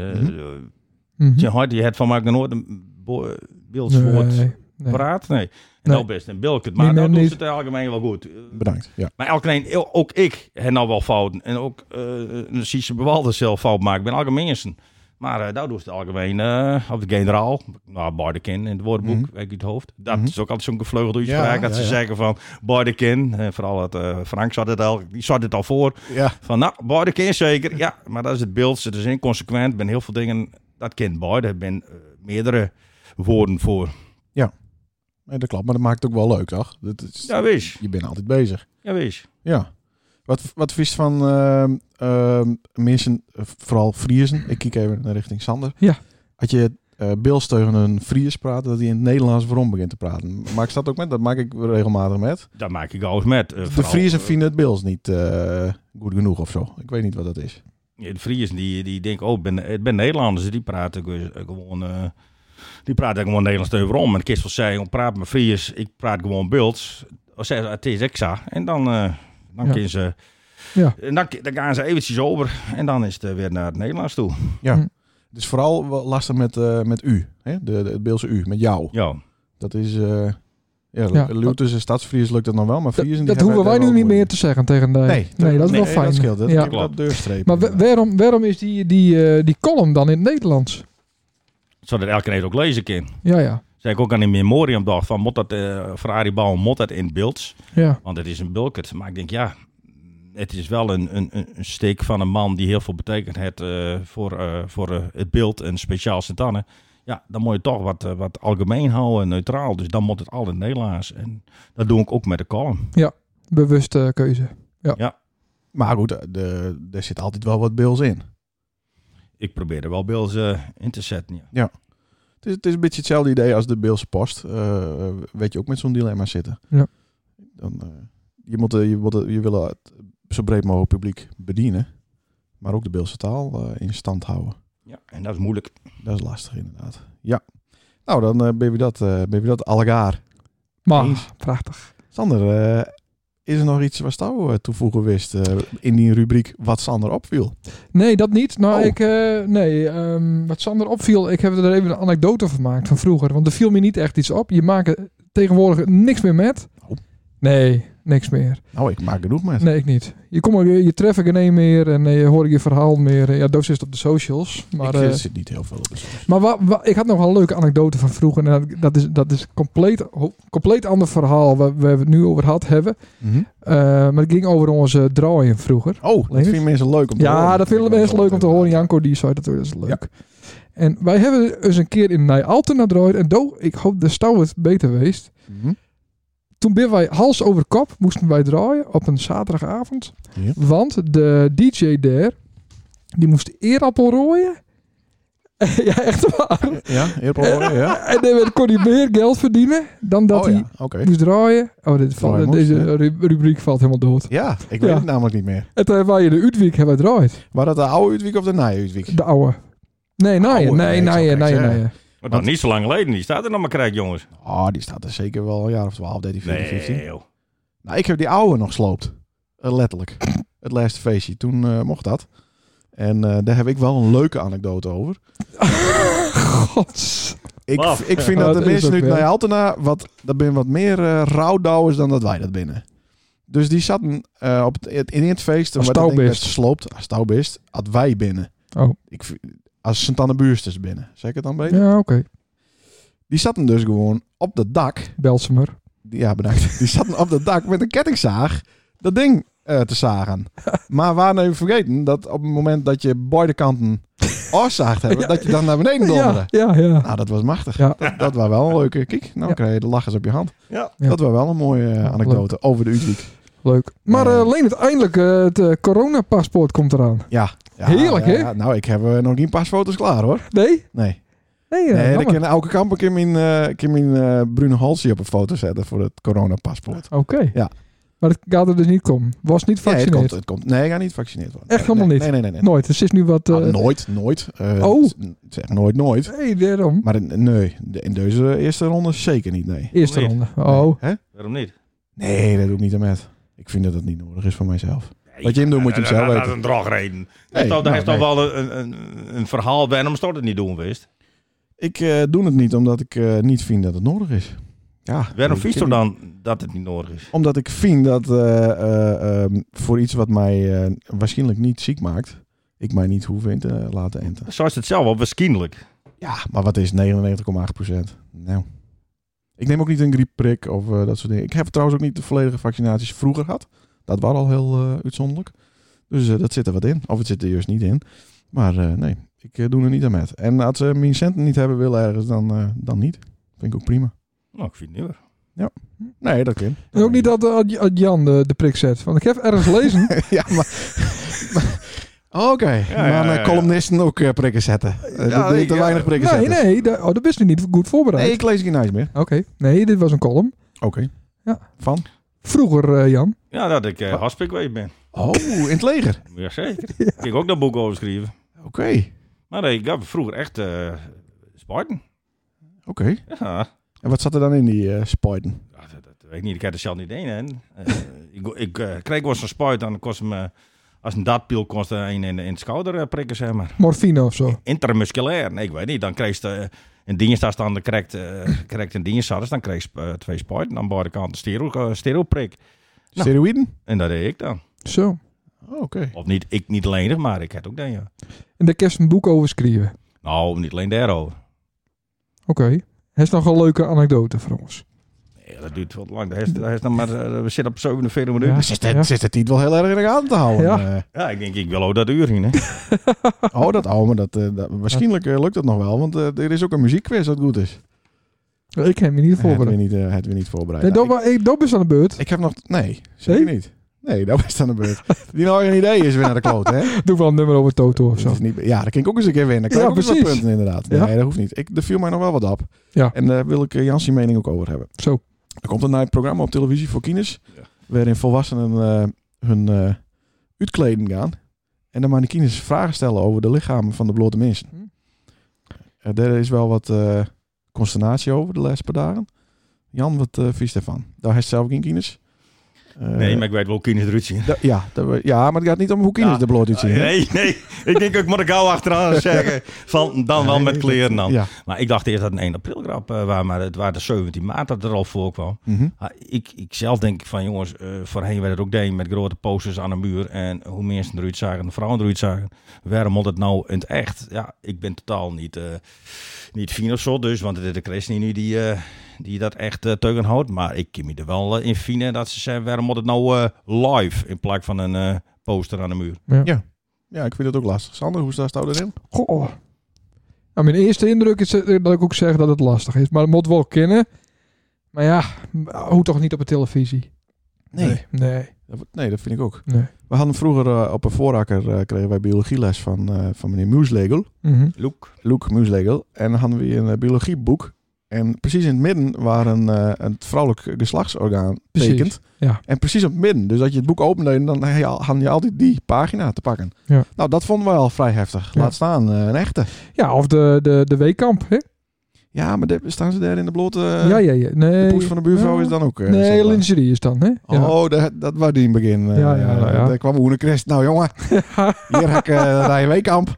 B: Mhm.
F: Je hart, die het van mij nog nooit een bo- beeldswoord
B: Nee, nee.
F: praat, nee. En
B: Nee.
F: nou best een
B: Nee,
F: bilkert, maar
B: nee,
F: dat doet
B: niet.
F: ze het algemeen wel goed. Eh,
A: Bedankt, ja.
F: Maar algemeen, ook ik heb nou wel fouten. En ook eh een Sietse Bewalder zelf fout maken. Ik ben algemeen mensen. Maar eh daar doet ze het algemeen, eh, of de generaal, nou, Bardekin in het woordenboek, weet ik uit het hoofd. Dat is ook altijd zo'n gevleugelde uitspraak,
A: Mhm. Ja,
F: dat
A: ja, ja.
F: ze zeggen van Bardekin, en vooral het, eh, Frank zat het al, die zat het al voor,
A: Ja.
F: van nou, Bardekin zeker, ja, maar dat is het beeld, ze is inconsequent, Ik ben heel veel dingen, dat kind Barde, ik ben eh, meerdere woorden voor.
A: Ja. Nee, dat klopt. Maar dat maakt het ook wel leuk, toch? Dat is,
F: Ja, wees.
A: Je bent altijd bezig.
F: Ja, wees.
A: Ja. Wat, wat vies van ehm, ehm, mensen, eh, vooral Friesen. Ik kijk even naar richting Sander.
B: Ja.
A: Had je eh Bils tegen een Fries praten, dat hij in het Nederlands waarom begint te praten. Maak ik dat ook met? Dat maak ik regelmatig met.
F: Dat maak ik alles met. eh,
A: De
F: vooral,
A: Friesen
F: eh,
A: vinden het Bils niet eh, goed genoeg of zo. Ik weet niet wat dat is.
F: Ja, de Friesen die, die denken, oh, ik ben, ik ben Nederlanders. Die praten ge- gewoon, eh, die praten gewoon Nederlands overom. En Kist wil zeggen, ik praat met Fries, ik praat gewoon Bults. Of zeggen ze, Ah, Het is Exa. En dan, eh dan
B: Ja.
F: kunnen ze...
B: Ja.
F: En dan, dan gaan ze eventjes over en dan is het eh, weer naar het Nederlands toe.
A: Ja. Het is vooral wel lastig met, eh, met u. Hè? De, de, het Beelse u, met jou.
F: Ja.
A: Dat is... eh ja,
B: Ja.
A: Luthers en Stadsfries lukt dat nog wel, maar Friesen... die
B: Dat
A: hebben
B: hoeven wij
A: daar
B: nu
A: wel
B: niet
A: moeite
B: meer te zeggen tegen de...
A: Nee,
B: nee dat is
A: nee,
B: wel fijn.
A: dat scheelt. Dat
B: Ja.
A: heb ik op deurstrepen.
B: Maar wa- waarom, waarom is die, die, eh, die column dan in het Nederlands?
F: Zodat elke keer ook lezen kan.
B: Ja, ja.
F: Zeg ik ook aan die memoriam dacht van, moet dat, eh Ferrari bouw, moet dat in Bults?
B: Ja.
F: Want het is een bulkert. Maar ik denk, ja, het is wel een, een, een een steek van een man die heel veel betekent heeft, eh, voor, eh, voor eh, het beeld en speciaal Sint-Anne. Ja, dan moet je toch wat, eh, wat algemeen houden, neutraal. Dus dan moet het al in het Nederlands. En dat doe ik ook met de column.
B: Ja, bewuste keuze. Ja.
F: Ja,
A: Maar goed, eh, de, er zit altijd wel wat Bills in.
F: ik probeer er wel beelds eh, in te zetten. Ja.
A: Ja. Het is, het is een beetje hetzelfde idee als de Beelse post. Eh, weet je ook met zo'n dilemma zitten.
B: Ja.
A: Dan, eh, je, moet, eh, je, moet, eh, je wil het zo breed mogelijk publiek bedienen. Maar ook de Beelse taal eh, in stand houden.
F: ja, en dat is moeilijk.
A: Dat is lastig inderdaad. Ja. Nou, dan eh, ben je dat, eh ben je dat allegaar.
B: Maar, prachtig.
A: Sander, eh, is er nog iets wat jou eh, toevoegen wist eh, in die rubriek wat Sander opviel?
B: Nee, dat niet. Nou,
A: Oh.
B: ik, eh, nee, ehm, wat Sander opviel, ik heb er even een anekdote van gemaakt van vroeger. Want er viel me niet echt iets op. Je maakt er tegenwoordig niks meer met.
A: Oh.
B: Nee, niks meer.
A: Nou, ik maak genoeg met.
B: Nee, ik niet. Je, kom, je, je tref ik er niet meer en eh, je hoor ik je verhaal meer. Ja, doos is het op de socials. Maar,
A: ik,
B: eh,
A: er zit niet heel veel op. Dus.
B: Maar wa- wa- ik had nog wel een leuke anekdote van vroeger. En dat, dat is, dat is compleet, ho- compleet ander verhaal waar we het nu over had hebben.
A: Mhm.
B: Eh, maar het ging over onze drawing vroeger.
A: Oh, dat
B: Leonard?
A: vinden mensen leuk om te horen.
B: Ja, dat vinden
A: Ik
B: mensen
A: wel
B: leuk om te horen. Janko die zei dat dat is leuk. En wij hebben eens een keer in Nijalten naar draait. En do, ik hoop de stouw het beter geweest.
A: Mhm.
B: Toen ben wij hals over kop moesten wij draaien op een zaterdagavond.
A: Ja.
B: Want de DJ daar, Die moest eerappel rooien. ja, echt waar.
A: Ja, eerder ja.
B: En dan kon hij meer geld verdienen dan Eh, dat
A: Oh ja,
B: hij
A: oké.
B: moest draaien. Oh, dit valt,
A: Draaien moest,
B: deze
A: ja.
B: ru- rubriek valt helemaal dood.
A: Ja, ik weet
B: Ja.
A: het namelijk niet meer.
B: En toen hebben wij in de Uitweek hebben we draaid.
A: Waar dat de oude Uitwiek of de nieuwe Uitwiek?
B: De oude. Nee, nee,
A: Oude,
B: nee, nee,
A: nee,
B: nee,
A: zou ik
B: nee.
A: zeggen.
B: nee.
F: Wat nog niet zo lang geleden. Die staat er nog maar krijg, jongens.
A: Oh, die staat er zeker wel een jaar of 12, 13, 14, 15.
F: Nee, joh.
A: Nou, ik heb die oude nog sloopt. Eh, letterlijk. Het laatste feestje. Toen eh, mocht dat. En eh, daar heb ik wel een leuke anekdote over.
B: Gods.
A: Ik,
F: Wauw.
A: ik vind
B: Ja,
A: dat de
B: dat is
A: mensen
B: ook
A: nu
B: wel.
A: naar Altena, wat, dat ben wat meer eh rouwdouwers dan dat wij dat binnen. Dus die zaten eh, op het, het- in het feest,
B: Als
A: maar dat ding werd
B: touwbeest.
A: gesloopt, als touwbist, had wij binnen.
B: Oh.
A: Ik, vind- als Sint-Anne Buursters binnen, zeg ik het dan beter?
B: Ja, oké.
A: Die zaten dus gewoon op het dak
B: Belsemer.
A: Die- Ja, bedankt. Die zaten op dat dak met een kettingzaag dat ding eh, te zagen. Maar we hadden even vergeten dat op het moment dat je beide kanten afzaagd hebben, dat je dan naar beneden donderde.
B: Ja, ja, ja.
A: Nou, dat was machtig.
B: Ja.
A: Dat, dat was wel een leuke kiek. Nou
B: Ja.
A: krijg je de lachers op je hand.
F: Ja.
B: Ja.
A: Dat was wel een mooie eh, anekdote over de Utrecht.
B: Leuk. Maar
A: Nee.
B: eh Leen, uiteindelijk, eh, het eh, coronapaspoort komt eraan.
A: Ja. ja.
B: Heerlijk,
A: ja,
B: hè?
A: ja. Nou, ik heb eh, nog niet een paar foto's klaar, hoor.
B: Nee?
A: Nee.
B: Nee, eh,
A: nee, dan
B: jammer.
A: kan elke kamper Kim in, eh Kim in eh, Bruno Halsey op een foto zetten voor het coronapaspoort.
B: Oké.
A: Ja.
B: Maar het gaat er dus niet komen. Was niet
A: Nee, het
B: vaccineerd.
A: komt, het komt. Nee, ik ga niet gevaccineerd worden.
B: Echt
A: Nee,
B: helemaal
A: nee,
B: niet?
A: Nee, nee, nee. nee.
B: Nooit. Dus is nu wat... eh
A: Ah, nooit, nooit. Eh,
B: Oh.
A: het- het Zeg nooit, nooit.
B: Nee, daarom.
A: Maar in- nee, de- in deze eerste ronde zeker niet, nee.
B: Eerste
F: Nee.
B: ronde. Oh.
A: Hè?
F: Waarom niet?
A: Nee, dat doe ik niet aan met. Ik vind dat dat niet nodig is voor mijzelf. Wat je hem doet, moet je hem zelf
F: Dat is
A: weten.
F: een drogreden.
A: Nee,
F: Hij is toch-
A: nou,
F: Hij is toch
A: nee.
F: wel een- een- een verhaal bij hem, omdat het niet doen wist.
A: Ik eh, doe het niet omdat ik eh, niet vind dat het nodig is. Ja,
F: Waarom
A: ik-
F: vies toch dan dat het niet nodig is?
A: Omdat ik vind dat eh, eh, ehm, voor iets wat mij eh, waarschijnlijk niet ziek maakt, ik mij niet hoef in te laten enten.
F: Zo is het zelf wel, waarschijnlijk.
A: Ja, maar wat is 99,8 Nou. Ik neem ook niet een griepprik of eh, dat soort dingen. Ik heb trouwens ook niet de volledige vaccinaties vroeger gehad. Dat was al heel eh, uitzonderlijk. Dus eh, dat zit er wat in. Of het zit er juist niet in. Maar eh, nee, ik eh, doe er niet aan met. En als ze mijn centen niet hebben willen ergens, dan, eh, dan niet. Vind ik ook prima.
F: Nou, ik vind het niet hoor.
A: Nee, dat kan.
B: En ook niet dat eh, Ad- Ad Jan de, de prik zet. Want ik heb ergens lezen.
A: ja, maar... Oké, maar
F: ja,
A: eh,
F: ja, ja.
A: columnisten ook eh, prikken zetten. Eh,
F: Ja,
A: dat doen
F: ik-
A: te
F: ja.
A: weinig prikken
B: nee,
A: zetten.
B: nee. da- oh, dat is nu niet goed voorbereid.
A: Nee, ik lees geen nice meer.
B: Oké. Nee, dit was een column.
A: Oké.
B: Ja.
A: Van?
B: Vroeger, eh, Jan.
F: Ja, dat ik eh haspik weet ben.
A: Oh, in het leger.
F: Jazeker. Ik heb ook dat boek over geschreven.
A: Oké.
F: Maar nee, ik heb vroeger echt eh spuiten.
A: Oké.
F: Ja,
A: En wat zat er dan in die eh spuiten?
F: Ja, dat, dat weet ik niet. Ik heb er zelf niet één. hè. Eh, ik ik eh, kreeg wel zo'n spuit en dan kost me als een datpil kost er een in, in het schouder eh, prikken, zeg maar.
B: Morfine of zo.
F: Intermusculair. Nee, ik weet niet. Dan kreeg je eh, een dienstarts dan krijgt, eh krijgt een dienstarts, dan kreeg je eh, twee spuiten aan beide kanten stero, eh, steroprik. Nou.
A: Steroïden?
F: En dat deed ik dan.
B: Zo.
A: Oh, Oké.
F: Of niet, ik niet alleen, maar ik had ook dat, ja.
B: En daar kerst een boek over schrijven.
F: Nou, niet alleen daarover.
B: Oké. Hij is nog een leuke anekdote voor ons.
F: Nee, dat duurt wat lang. Dat is, dat is dan maar, eh, we zitten op 47 minuten.
B: Ja.
F: Ja.
A: Zit, het, zit het niet wel heel erg in de gaten te houden?
B: Ja.
F: ik denk, ik wil ook dat uur in, hè.
A: Eh, oh, dat oude, maar dat, eh, dat, waarschijnlijk eh, lukt dat nog wel, want eh, er is ook een muziekquiz dat goed is.
B: Ik heb me niet
A: Het weer
B: voorbereid.
A: niet, eh, het weer niet voorbereid.
B: Nee,
A: Nou,
B: Dob ik- Dob is aan de beurt.
A: ik, ik heb nog... Nee, zeker
B: Nee?
A: niet. Nee, dat was dan de beurt. Die nou een idee is weer naar de kloot, hè?
B: Doe wel een nummer over Toto of
A: Dat
B: zo.
A: is niet, ja, daar kan ik ook eens een keer winnen. Dan krijg
B: Ja,
A: ik ook eens wat
B: precies.
A: punten inderdaad. Nee,
B: Ja.
A: dat hoeft niet. Ik, er viel mij nog wel wat op.
B: Ja.
A: En daar wil ik eh, Jans zijn mening ook over hebben.
B: Zo.
A: Er komt een nieuw programma op televisie voor kinders. Waarin volwassenen eh, hun eh uitkleden gaan. En dan gaan de kinders vragen stellen over de lichamen van de blote mensen.
B: Hm.
A: Eh, daar is wel wat eh, consternatie over de laatste paar dagen. Jan, wat eh vies daarvan? Daar heeft zelf geen kinders. Eh,
F: Nee, maar ik weet wel hoe kinderen eruit zien.
A: da- ja, da- ja, maar het gaat niet om hoe kinders
F: Ja.
A: er bloot uitzien. hè?
F: Nee, nee. Ik denk, ik moet ik gauw achteraan zeggen. Van, dan wel met kleren dan.
A: Ja.
F: Maar ik dacht eerst dat het een 1 april grap eh, was. Maar het waren de 17 maart dat het er al voorkwam.
A: Mhm.
F: Ah, ik, ik zelf denk van, jongens, eh, voorheen werd het ook deed met grote posters aan de muur. En hoe mensen eruit zagen, de vrouwen eruit zagen. Waarom moet het nou in het echt? Ja, ik ben totaal niet, eh niet fien of zo dus. Want het is de Christine nu die, eh, die dat echt eh, teugen houdt. Maar ik kan me er wel eh, in fine dat ze zeggen, waarom moet het nou eh, live in plaats van een eh, poster aan de muur?
A: Ja, ik vind het ook lastig. Sander, hoe staat jou erin?
B: Goh. Nou, mijn eerste indruk is eh, dat ik ook zeg dat het lastig is. Maar het moet wel kennen. Maar ja, hoe toch niet op de televisie?
A: Nee.
B: Nee.
A: Dat wordt- Nee, dat vind ik ook.
B: Nee.
A: We hadden vroeger eh, op een voorrakker eh, kregen wij biologieles van, eh, van meneer Mueslegel.
B: Mhm.
F: Loek.
A: Loek Mueslegel. En dan hadden we een eh, biologieboek. En precies in het midden waren een, het vrouwelijk geslachtsorgaan
B: Precies,
A: tekent.
B: ja.
A: En precies op het midden. Dus dat je het boek opende en dan had je al- hadden je altijd die pagina te pakken.
B: Ja.
A: Nou, dat vonden wij al vrij heftig.
B: Ja.
A: Laat staan, eh, een echte.
B: Ja, of de, de, de weekkamp,
A: Eh,
B: hè?
A: Ja, maar daar- staan ze daar in de blote... eh,
B: ja, ja, ja. Nee.
A: De poes van de buurvrouw
B: Ja.
A: is dan ook... eh, zichtbaar.
B: nee, lingerie is dan, hè? Ja.
A: Oh, dat, dat was die in het begin. eh,
B: Ja, ja, nou ja.
A: Daar kwam Oene Christ. Nou jongen, hier heb ik uh, Rijn Weekamp.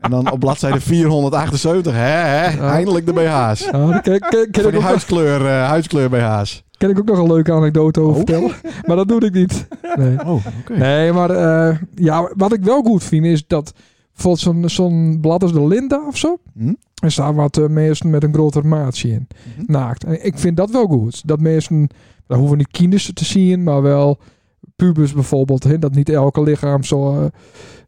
A: En dan op bladzijde 478. Hè, hè, Eindelijk de BH's.
B: Ja, dan ken, ken, ken
A: Van
B: ik
A: die
B: ook nog,
A: huidskleur, eh, huidskleur BH's.
B: ken ik ook nog een leuke anekdote over vertellen. Maar dat doe ik niet. Nee.
A: Oh, oké.
B: Nee, maar eh, ja, wat ik wel goed vind is dat bijvoorbeeld zo'n zo'n blad als de Linda of zo.
A: Hm? Mhm.
B: Er staan wat eh, mensen met een groter maatje in. Naakt. En ik vind dat wel goed. Dat mensen, daar hoeven niet kinderen te zien, maar wel pubers bijvoorbeeld. Hè, dat niet elke lichaam zo eh,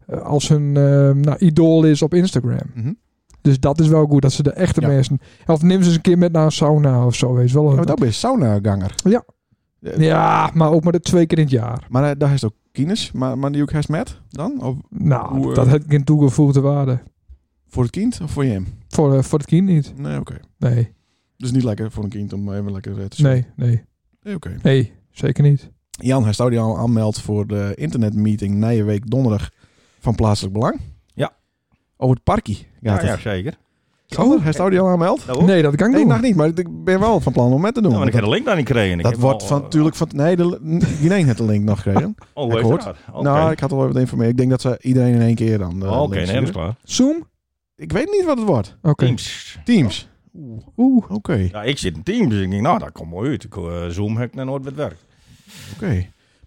B: eh, als hun eh, nou, idool is op Instagram.
A: Mhm.
B: Dus dat is wel goed, dat ze de echte
A: Ja.
B: mensen... Of neem ze eens een keer met naar een sauna of zo. Weet je wel.
A: Ja, maar dat ben je saunaganger.
B: Ja.
A: Eh,
B: Ja, maar ook maar de twee keer in het jaar.
A: Maar eh, daar is het ook kines. Maar, maar die ook heeft met dan? Of
B: Nou,
A: Hoe, eh,
B: dat heb ik geen toegevoegde waarde.
A: voor het kind of voor je hem?
B: Voor, eh, voor het kind niet.
A: Nee, oké.
B: Nee,
A: Dus niet lekker voor een kind om even lekker eh, te zien.
B: nee, nee.
A: Nee, oké.
B: Nee, zeker niet.
A: Jan, hij zou die al aanmeld voor de internetmeeting na je week donderdag van plaatselijk belang.
F: Ja.
A: Over het parkie.
F: Ja,
A: gaat
F: Nou ja,
A: het.
F: zeker.
A: Sander, hij zou die al aanmeld?
F: Nou,
B: Nee, dat kan ik
A: Oh. Nee,
B: niet.
A: nog niet, maar ik ben wel van plan om met te doen.
F: want ik heb de link daar niet gekregen. Ik
A: dat
F: heb
A: wordt
F: al,
A: van,
F: eh,
A: natuurlijk van... Nee, de, iedereen heeft de link nog gekregen.
F: Oh,
A: ik
F: heeft
A: hoort.
F: dat? Oké.
A: Nou, ik had al even informeren. Ik denk dat ze iedereen in één keer dan... de
F: Oké,
A: link
F: nee, dat is
A: sturen.
F: klaar.
B: Zoom?
A: Ik weet niet wat het wordt.
B: Oké.
F: Teams.
A: Teams.
B: Oeh.
A: Oké,
F: Oh. Ja, ik zit in Teams. Dus ik denk, nou, dat komt mooi uit. Ik, eh, Zoom heb ik nog nooit met werk.
A: oké.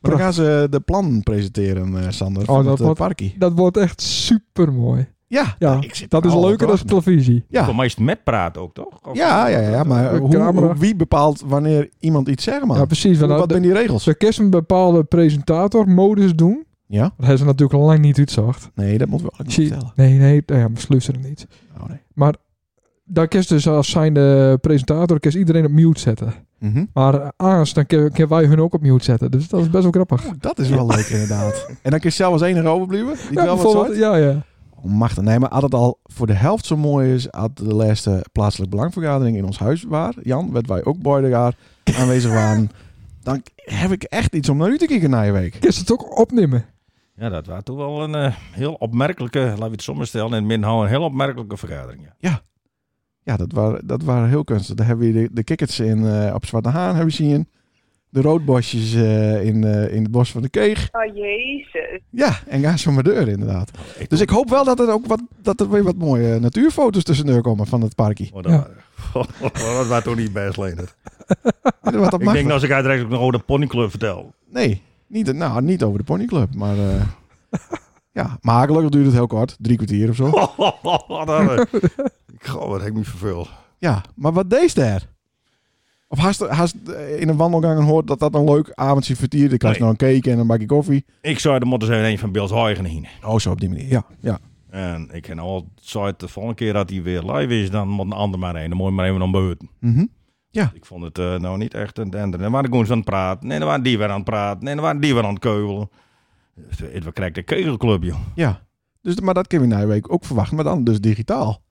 A: Maar dan gaan ze de plan presenteren, eh, Sander,
F: Oh,
A: van
B: dat
A: het eh,
B: wordt-
A: parkie.
B: Dat wordt echt super mooi.
A: Ja,
B: Ja,
A: ik zit
B: dat
A: er
B: is
A: al op te
B: leuker dan
A: wachten.
B: televisie.
A: Ja.
F: Voor mij is het met praten ook, toch? Of-
A: Ja, ja, ja, maar
B: De
A: hoe,
B: camera.
A: hoe- wie bepaalt wanneer iemand iets zegt, man?
B: Ja, precies.
A: Hoe-
B: Want
A: wat
B: dat-
A: zijn die regels?
B: ze kerst een bepaalde presentatormodus doen.
A: Ja?
B: Dat hebben ze natuurlijk al lang niet uitzacht.
A: Nee, dat moet wel
B: Zie-
A: vertellen.
B: Nee, nee, nou ja, maar sluit ze er niet.
A: Oh, nee.
B: Daar kerst dus als zijnde presentator kerst iedereen op mute zetten.
A: Mhm.
B: Maar eh, aans, dan kunnen wij hun ook op mute zetten. Dus dat is best wel grappig.
A: Oeh, Dat is wel leuk, inderdaad. En dan kun je zelf als enige overblijven. Die wel
B: Ja,
A: wat
B: bijvoorbeeld.
A: soort.
B: Ja, ja.
A: Oh, machtig. Nee, maar had het al voor de helft zo mooi is, had de laatste plaatselijk belangvergadering in ons huis waar, Jan, werd wij ook bij elkaar aanwezig waren, dan heb ik echt iets om naar u te kijken na je week.
B: Kerst het ook opnemen.
F: Ja, dat was toen wel een eh, heel opmerkelijke, laten we het soms stellen, in het midden houden, een heel opmerkelijke vergadering. Ja.
A: Ja, dat waren, dat waren heel kunstig. Daar hebben we de, de kikkers in, eh, op Zwarte Haan hebben we zien. De roodbosjes eh, in, eh, in het bos van de Keeg.
L: Oh, jezus.
A: Ja, en ga zo maar deur inderdaad.
F: Ik
A: Dus ik hoop wel dat er ook wat, dat er weer wat mooie eh, natuurfoto's tussendoor komen van het parkje.
F: Oh, dat,
B: Ja.
F: dat was toen niet best, Leonard.
A: Wat dat
F: Ik
A: mag
F: denk nou,
A: wel.
F: dat als ik uiteraard ook nog over de ponyclub vertel.
A: Nee, niet, nou, niet over de ponyclub, maar... eh, ja, maar gelukkig duurde het heel kort. Drie kwartier of zo.
F: Oh, dat, eh, Goh, wat heb ik me vervuld.
A: Ja, maar wat deed daar? Of haast, haast eh, in een wandelgang en hoort dat dat een leuk avondje vertiert. Ik krijg
F: Nee.
A: nog een cake en een bakje koffie.
F: Ik zou de motten zijn een van Bils Huygen heen.
A: Oh, zo op die manier. Ja, ja.
F: En ik ken al, zou het de volgende keer dat hij weer live is, dan moet een ander maar heen. Dan moet je maar even om buiten.
A: Mhm.
F: Ik vond het eh, nou niet echt een dender. Dan waren de goons aan het praten. Nee, dan waren die weer aan het praten. Nee, dan waren die weer aan het keuvelen. Dus, eh, We krijgen de kegelclub, joh.
A: ja. Dus, maar dat kunnen we na de week ook verwachten, maar dan dus digitaal.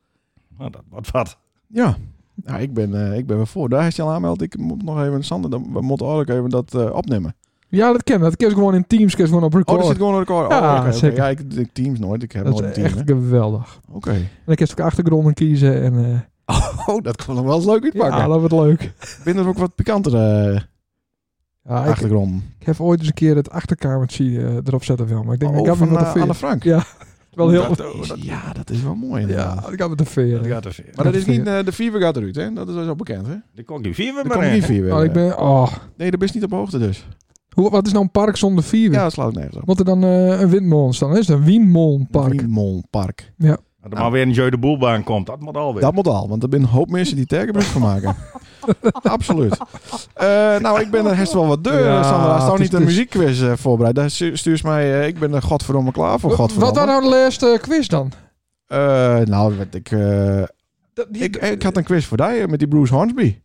F: Nou, dat, wat, wat.
A: Ja. Nou, ik ben, eh, ik ben weer voor. Daar is je al aanmeld. Ik moet nog even, Sander, dan, we moeten ook even dat eh, opnemen.
B: Ja, dat kan. Dat kerst gewoon in Teams, kerst gewoon op
A: Oh,
B: record.
A: er zit gewoon een record.
B: Ja,
A: oh, oké, oké.
B: zeker.
A: Ja, ik, ik teams nooit. Ik heb
B: dat
A: nooit een
B: is
A: team.
B: echt
A: hè.
B: geweldig.
A: Oké.
B: En dan kerst ook achtergronden kiezen. En, eh,
A: Oh, dat kan nog wel eens leuk uitpakken.
B: ja, dat wordt leuk.
A: Binnen er ook wat pikantere eh,
B: Ja, ik,
A: achtergrond.
B: Ik heb ooit eens een keer het achterkamertje eh, erop zetten wil, maar ik denk
A: oh,
B: dat ik
A: van
B: had
A: eh,
B: met de veer.
A: Anne Frank.
B: Ja, wel heel
F: Dat- oh, dat-
A: Ja, dat is wel mooi inderdaad.
B: ja, ik had met de veer.
F: Dat gaat er weer.
A: Maar
B: dat
A: dat is
B: vind
A: niet, eh, de Fever gaat eruit, hè? Dat is wel bekend, hè?
F: De Cocky Fever,
A: Er
F: maar
A: komt
F: in.
A: niet Fever.
B: Oh, ik ben, oh.
A: Nee, daar ben je niet op hoogte dus.
B: Hoe, wat is nou een park zonder vier?
A: Ja, dat slaat ook nergens op.
B: Moet er dan eh, een windmolen staan? Is het een windmolenpark?
A: Park.
F: Dat er maar weer een Jeu de Boel baan komt. Dat moet alweer.
A: Dat moet al, want er zijn een hoop mensen die terkenbrug van maken. Absoluut. Eh, nou, ik ben er best wel wat deur,
B: Ja,
A: Sandra. Als nou
B: het is- dus-
A: niet een
B: het is-
A: muziekquiz eh, voorbereid, dan stu- stuur ze mij... eh, ik ben er godverdomme klaar voor,
B: Wat was
A: Oh, godverdomme.
B: nou de laatste quiz dan?
A: Eh, nou, weet ik, eh,
B: Dat, die-
A: ik, ik had een quiz voor jou eh, met die Bruce Hornsby.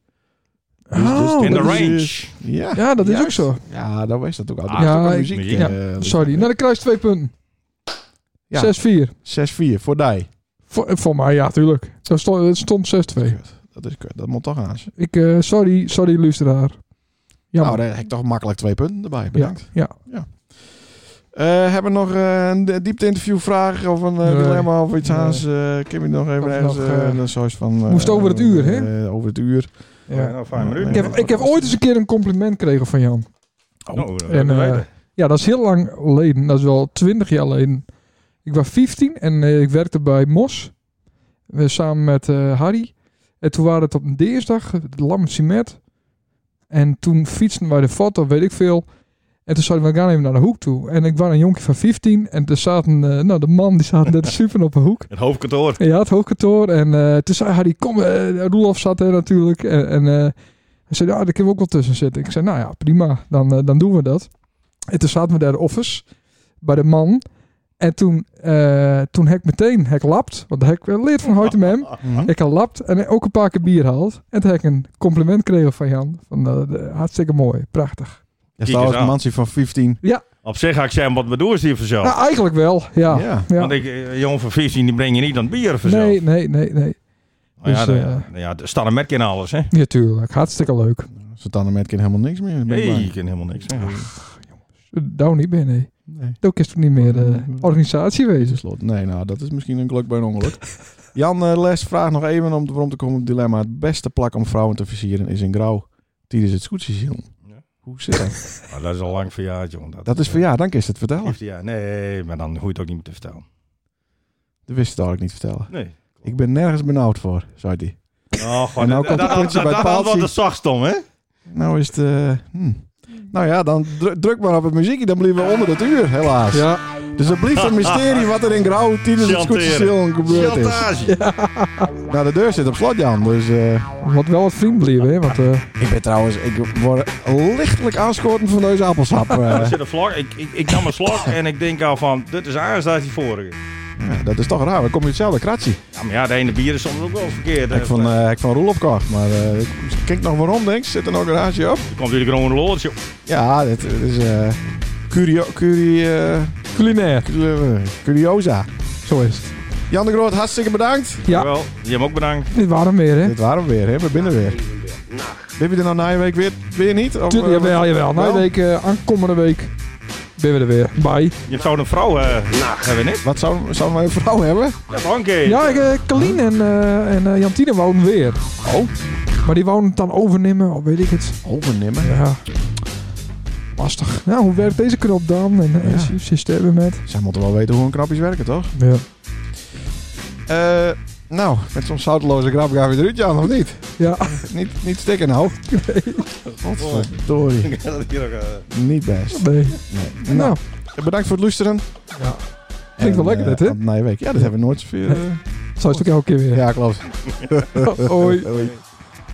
B: Oh,
F: in de
B: dat is-
F: range.
A: Ja,
B: Ja, dat is
A: juist.
B: ook zo.
A: Ja, dat was dat ook altijd.
F: Ah,
A: Dat is ook een
B: ja, ik-
A: muziek.
F: muziek,
B: ja.
A: eh,
B: sorry. Nou, dan krijg je twee punten.
A: Ja.
B: 6-4.
A: 6-4 voor die.
B: Voor, voor mij, ja, tuurlijk. Dat stond, het stond 6-2.
A: Dat is kut. Dat moet toch aan.
B: Ik, eh, sorry, sorry, luisteraar. Ja,
A: Nou, daar heb ik toch makkelijk twee punten erbij. Bedankt.
B: ja.
A: Eh, hebben we nog eh, een diepte-interview vraag of een eh,
B: Nee.
A: dilemma of iets
B: Nee.
A: aans? eh Kim, je nog even
B: Of
A: ergens
B: nog,
A: eh,
B: eh,
A: een soort van... eh,
B: moest over het uur, hè?
A: eh, over het uur.
B: Ja.
F: Nou, vijf minuten.
B: Ik heb, ik heb ooit eens een keer een compliment gekregen van Jan.
F: Nou, dat
B: En,
F: hebben wij
B: eh,
F: er.
B: ja, dat is heel lang geleden. Dat is wel twintig jaar geleden. Ik was 15 en eh, ik werkte bij Mos. We samen met eh, Harry. En toen waren het op een dinsdag, het Lam Cimet. En toen fietsten wij de foto, weet ik veel. En toen zeiden we, we gaan even naar de hoek toe. En ik was een jonkje van 15. En er zaten, eh, nou de man die zaten net super op een hoek.
F: het hoofdkantoor.
B: Ja, het hoofdkantoor. En eh, toen zei Harry, kom, eh, Roelof zat er natuurlijk. En, en eh, hij zei, ja, daar kunnen we ook wel tussen zitten. Ik zei, nou ja, prima, dan, eh, dan doen we dat. En toen zaten we daar de office, bij de man. En toen, eh, toen heb ik meteen, heb ik lapt, want heb ik eh, leert van Houten Mem.
F: Ah,
B: Ik had lapt en ook een paar keer bier gehaald. En toen heb ik een compliment gekregen van Jan. Van, eh, de- hartstikke mooi, prachtig.
A: Er
F: Kijk
A: staat
F: eens
A: een
F: aan.
A: mansie van 15.
B: Ja,
F: Op zich ga ik zeggen, wat bedoel je hier vanzelf?
B: nou, eigenlijk wel, ja.
A: Ja.
B: Ja.
F: Want ik, eh, jongen van 15, die breng je niet aan het bier vanzelf.
B: Nee, nee, nee, nee.
F: Nou ja,
B: dus,
F: de- ja, de staan een merk in alles, hè?
B: Ja, tuurlijk, hartstikke leuk. Dus,
A: Ze dan met helemaal niks meer. Ben ik
F: Nee,
A: blij.
F: ik ken helemaal niks. meer.
B: eh, Daar niet meer, nee.
A: Nee.
B: Dat is toch niet meer eh organisatie wezen.
A: Slot. Nee, nou, dat is misschien een geluk bij een ongeluk. Jan eh, Les vraagt nog even om waarom te komen op het dilemma. Het beste plak om vrouwen te versieren is in grauw. Tijdens het scootsezoen.
F: Ja.
A: Hoe zit dat?
F: Maar dat is al lang verjaard, jongen. Dat,
A: dat is voor ja, dan kun je het vertellen.
F: Heeft hij- ja, nee, maar dan hoef je het ook niet meer te vertellen.
A: Dat wist het eigenlijk niet vertellen.
F: Nee.
A: Ik ben nergens benauwd voor, zei hij.
F: Oh,
A: En
F: gewoon,
A: nou komt de politie bij het
F: Dat
A: paaltje.
F: was de zachtsom, hè?
A: Nou is het... eh, hm. Nou ja, dan dru- druk maar op het muziekje. Dan blijven we onder het uur, helaas.
B: Ja,
A: Dus het blijft een mysterie wat er in grauw tijdens het scootsezoen gebeurd is.
F: Chantage.
A: Nou, de deur zit op slot, Jan. Dus... eh,
B: wat wel wat vriend blijven, hè? Want, eh,
A: Ik ben trouwens, ik word lichtelijk aanschoten van deze appelsap. eh.
F: Er zit een vlak. Ik, ik, ik nam een slok en ik denk al van, dit is anders dan die vorige.
A: Ja, dat is toch raar, we komen in hetzelfde kratje.
F: Ja, maar ja, de ene bier is soms ook wel verkeerd. hè.
A: Ik van, eh ik van Roelof kocht, maar eh, ik kijk nog waarom, denk ik. Zit er nog een garage op?
F: Er komt weer gewoon een loodje.
A: Ja, dit, dit is eh curio, curie, eh,
B: culinair.
A: cu- eh, curiosa.
B: Zo is het.
A: Jan de Groot, hartstikke bedankt.
B: Ja.
F: Wel, je hem ook bedankt.
B: Dit waren we weer, hè?
A: Dit waren we weer, hè? we binnen weer. Ben je er nou na je week weer, weer niet? Of,
B: Tuurlijk,
A: eh,
B: jawel, jawel. Na
A: wel?
B: week, eh, aankomende week, ben we er weer. Bye.
F: Je zou een vrouw eh hebben, niet?
A: Wat zou, zou mijn vrouw hebben?
F: Ja, maar een keer.
B: Ja, ik, eh, Kalien en, eh, en eh, Jantine wonen weer.
A: Oh.
B: Maar die wonen het dan overnemen, of weet ik het.
A: Overnemen.
B: Ja. Lastig. Nou, hoe werkt deze knop dan? En eh,
A: Ja.
B: ze- ze sterven met.
A: Zij moeten wel weten hoe hun knapjes werken, toch?
B: Ja.
A: Eh, nou, met zo'n zoutloze grap gaan we eruit, Jan, of niet?
B: Ja.
A: Niet, niet stikken nou. Godverdorie.
F: Ja, dat hier ook, eh,
A: Niet best.
B: Nee.
A: Nee. Nou,
B: Nou,
A: bedankt voor het luisteren.
B: Ja. Klinkt wel
A: En,
B: lekker
A: eh,
B: dit, hè?
A: tot na je week. Ja, dat hebben we nooit zoveel. eh,
B: zo is het ook elke keer weer.
A: ja, klopt.
B: Hoi.
A: Hoi.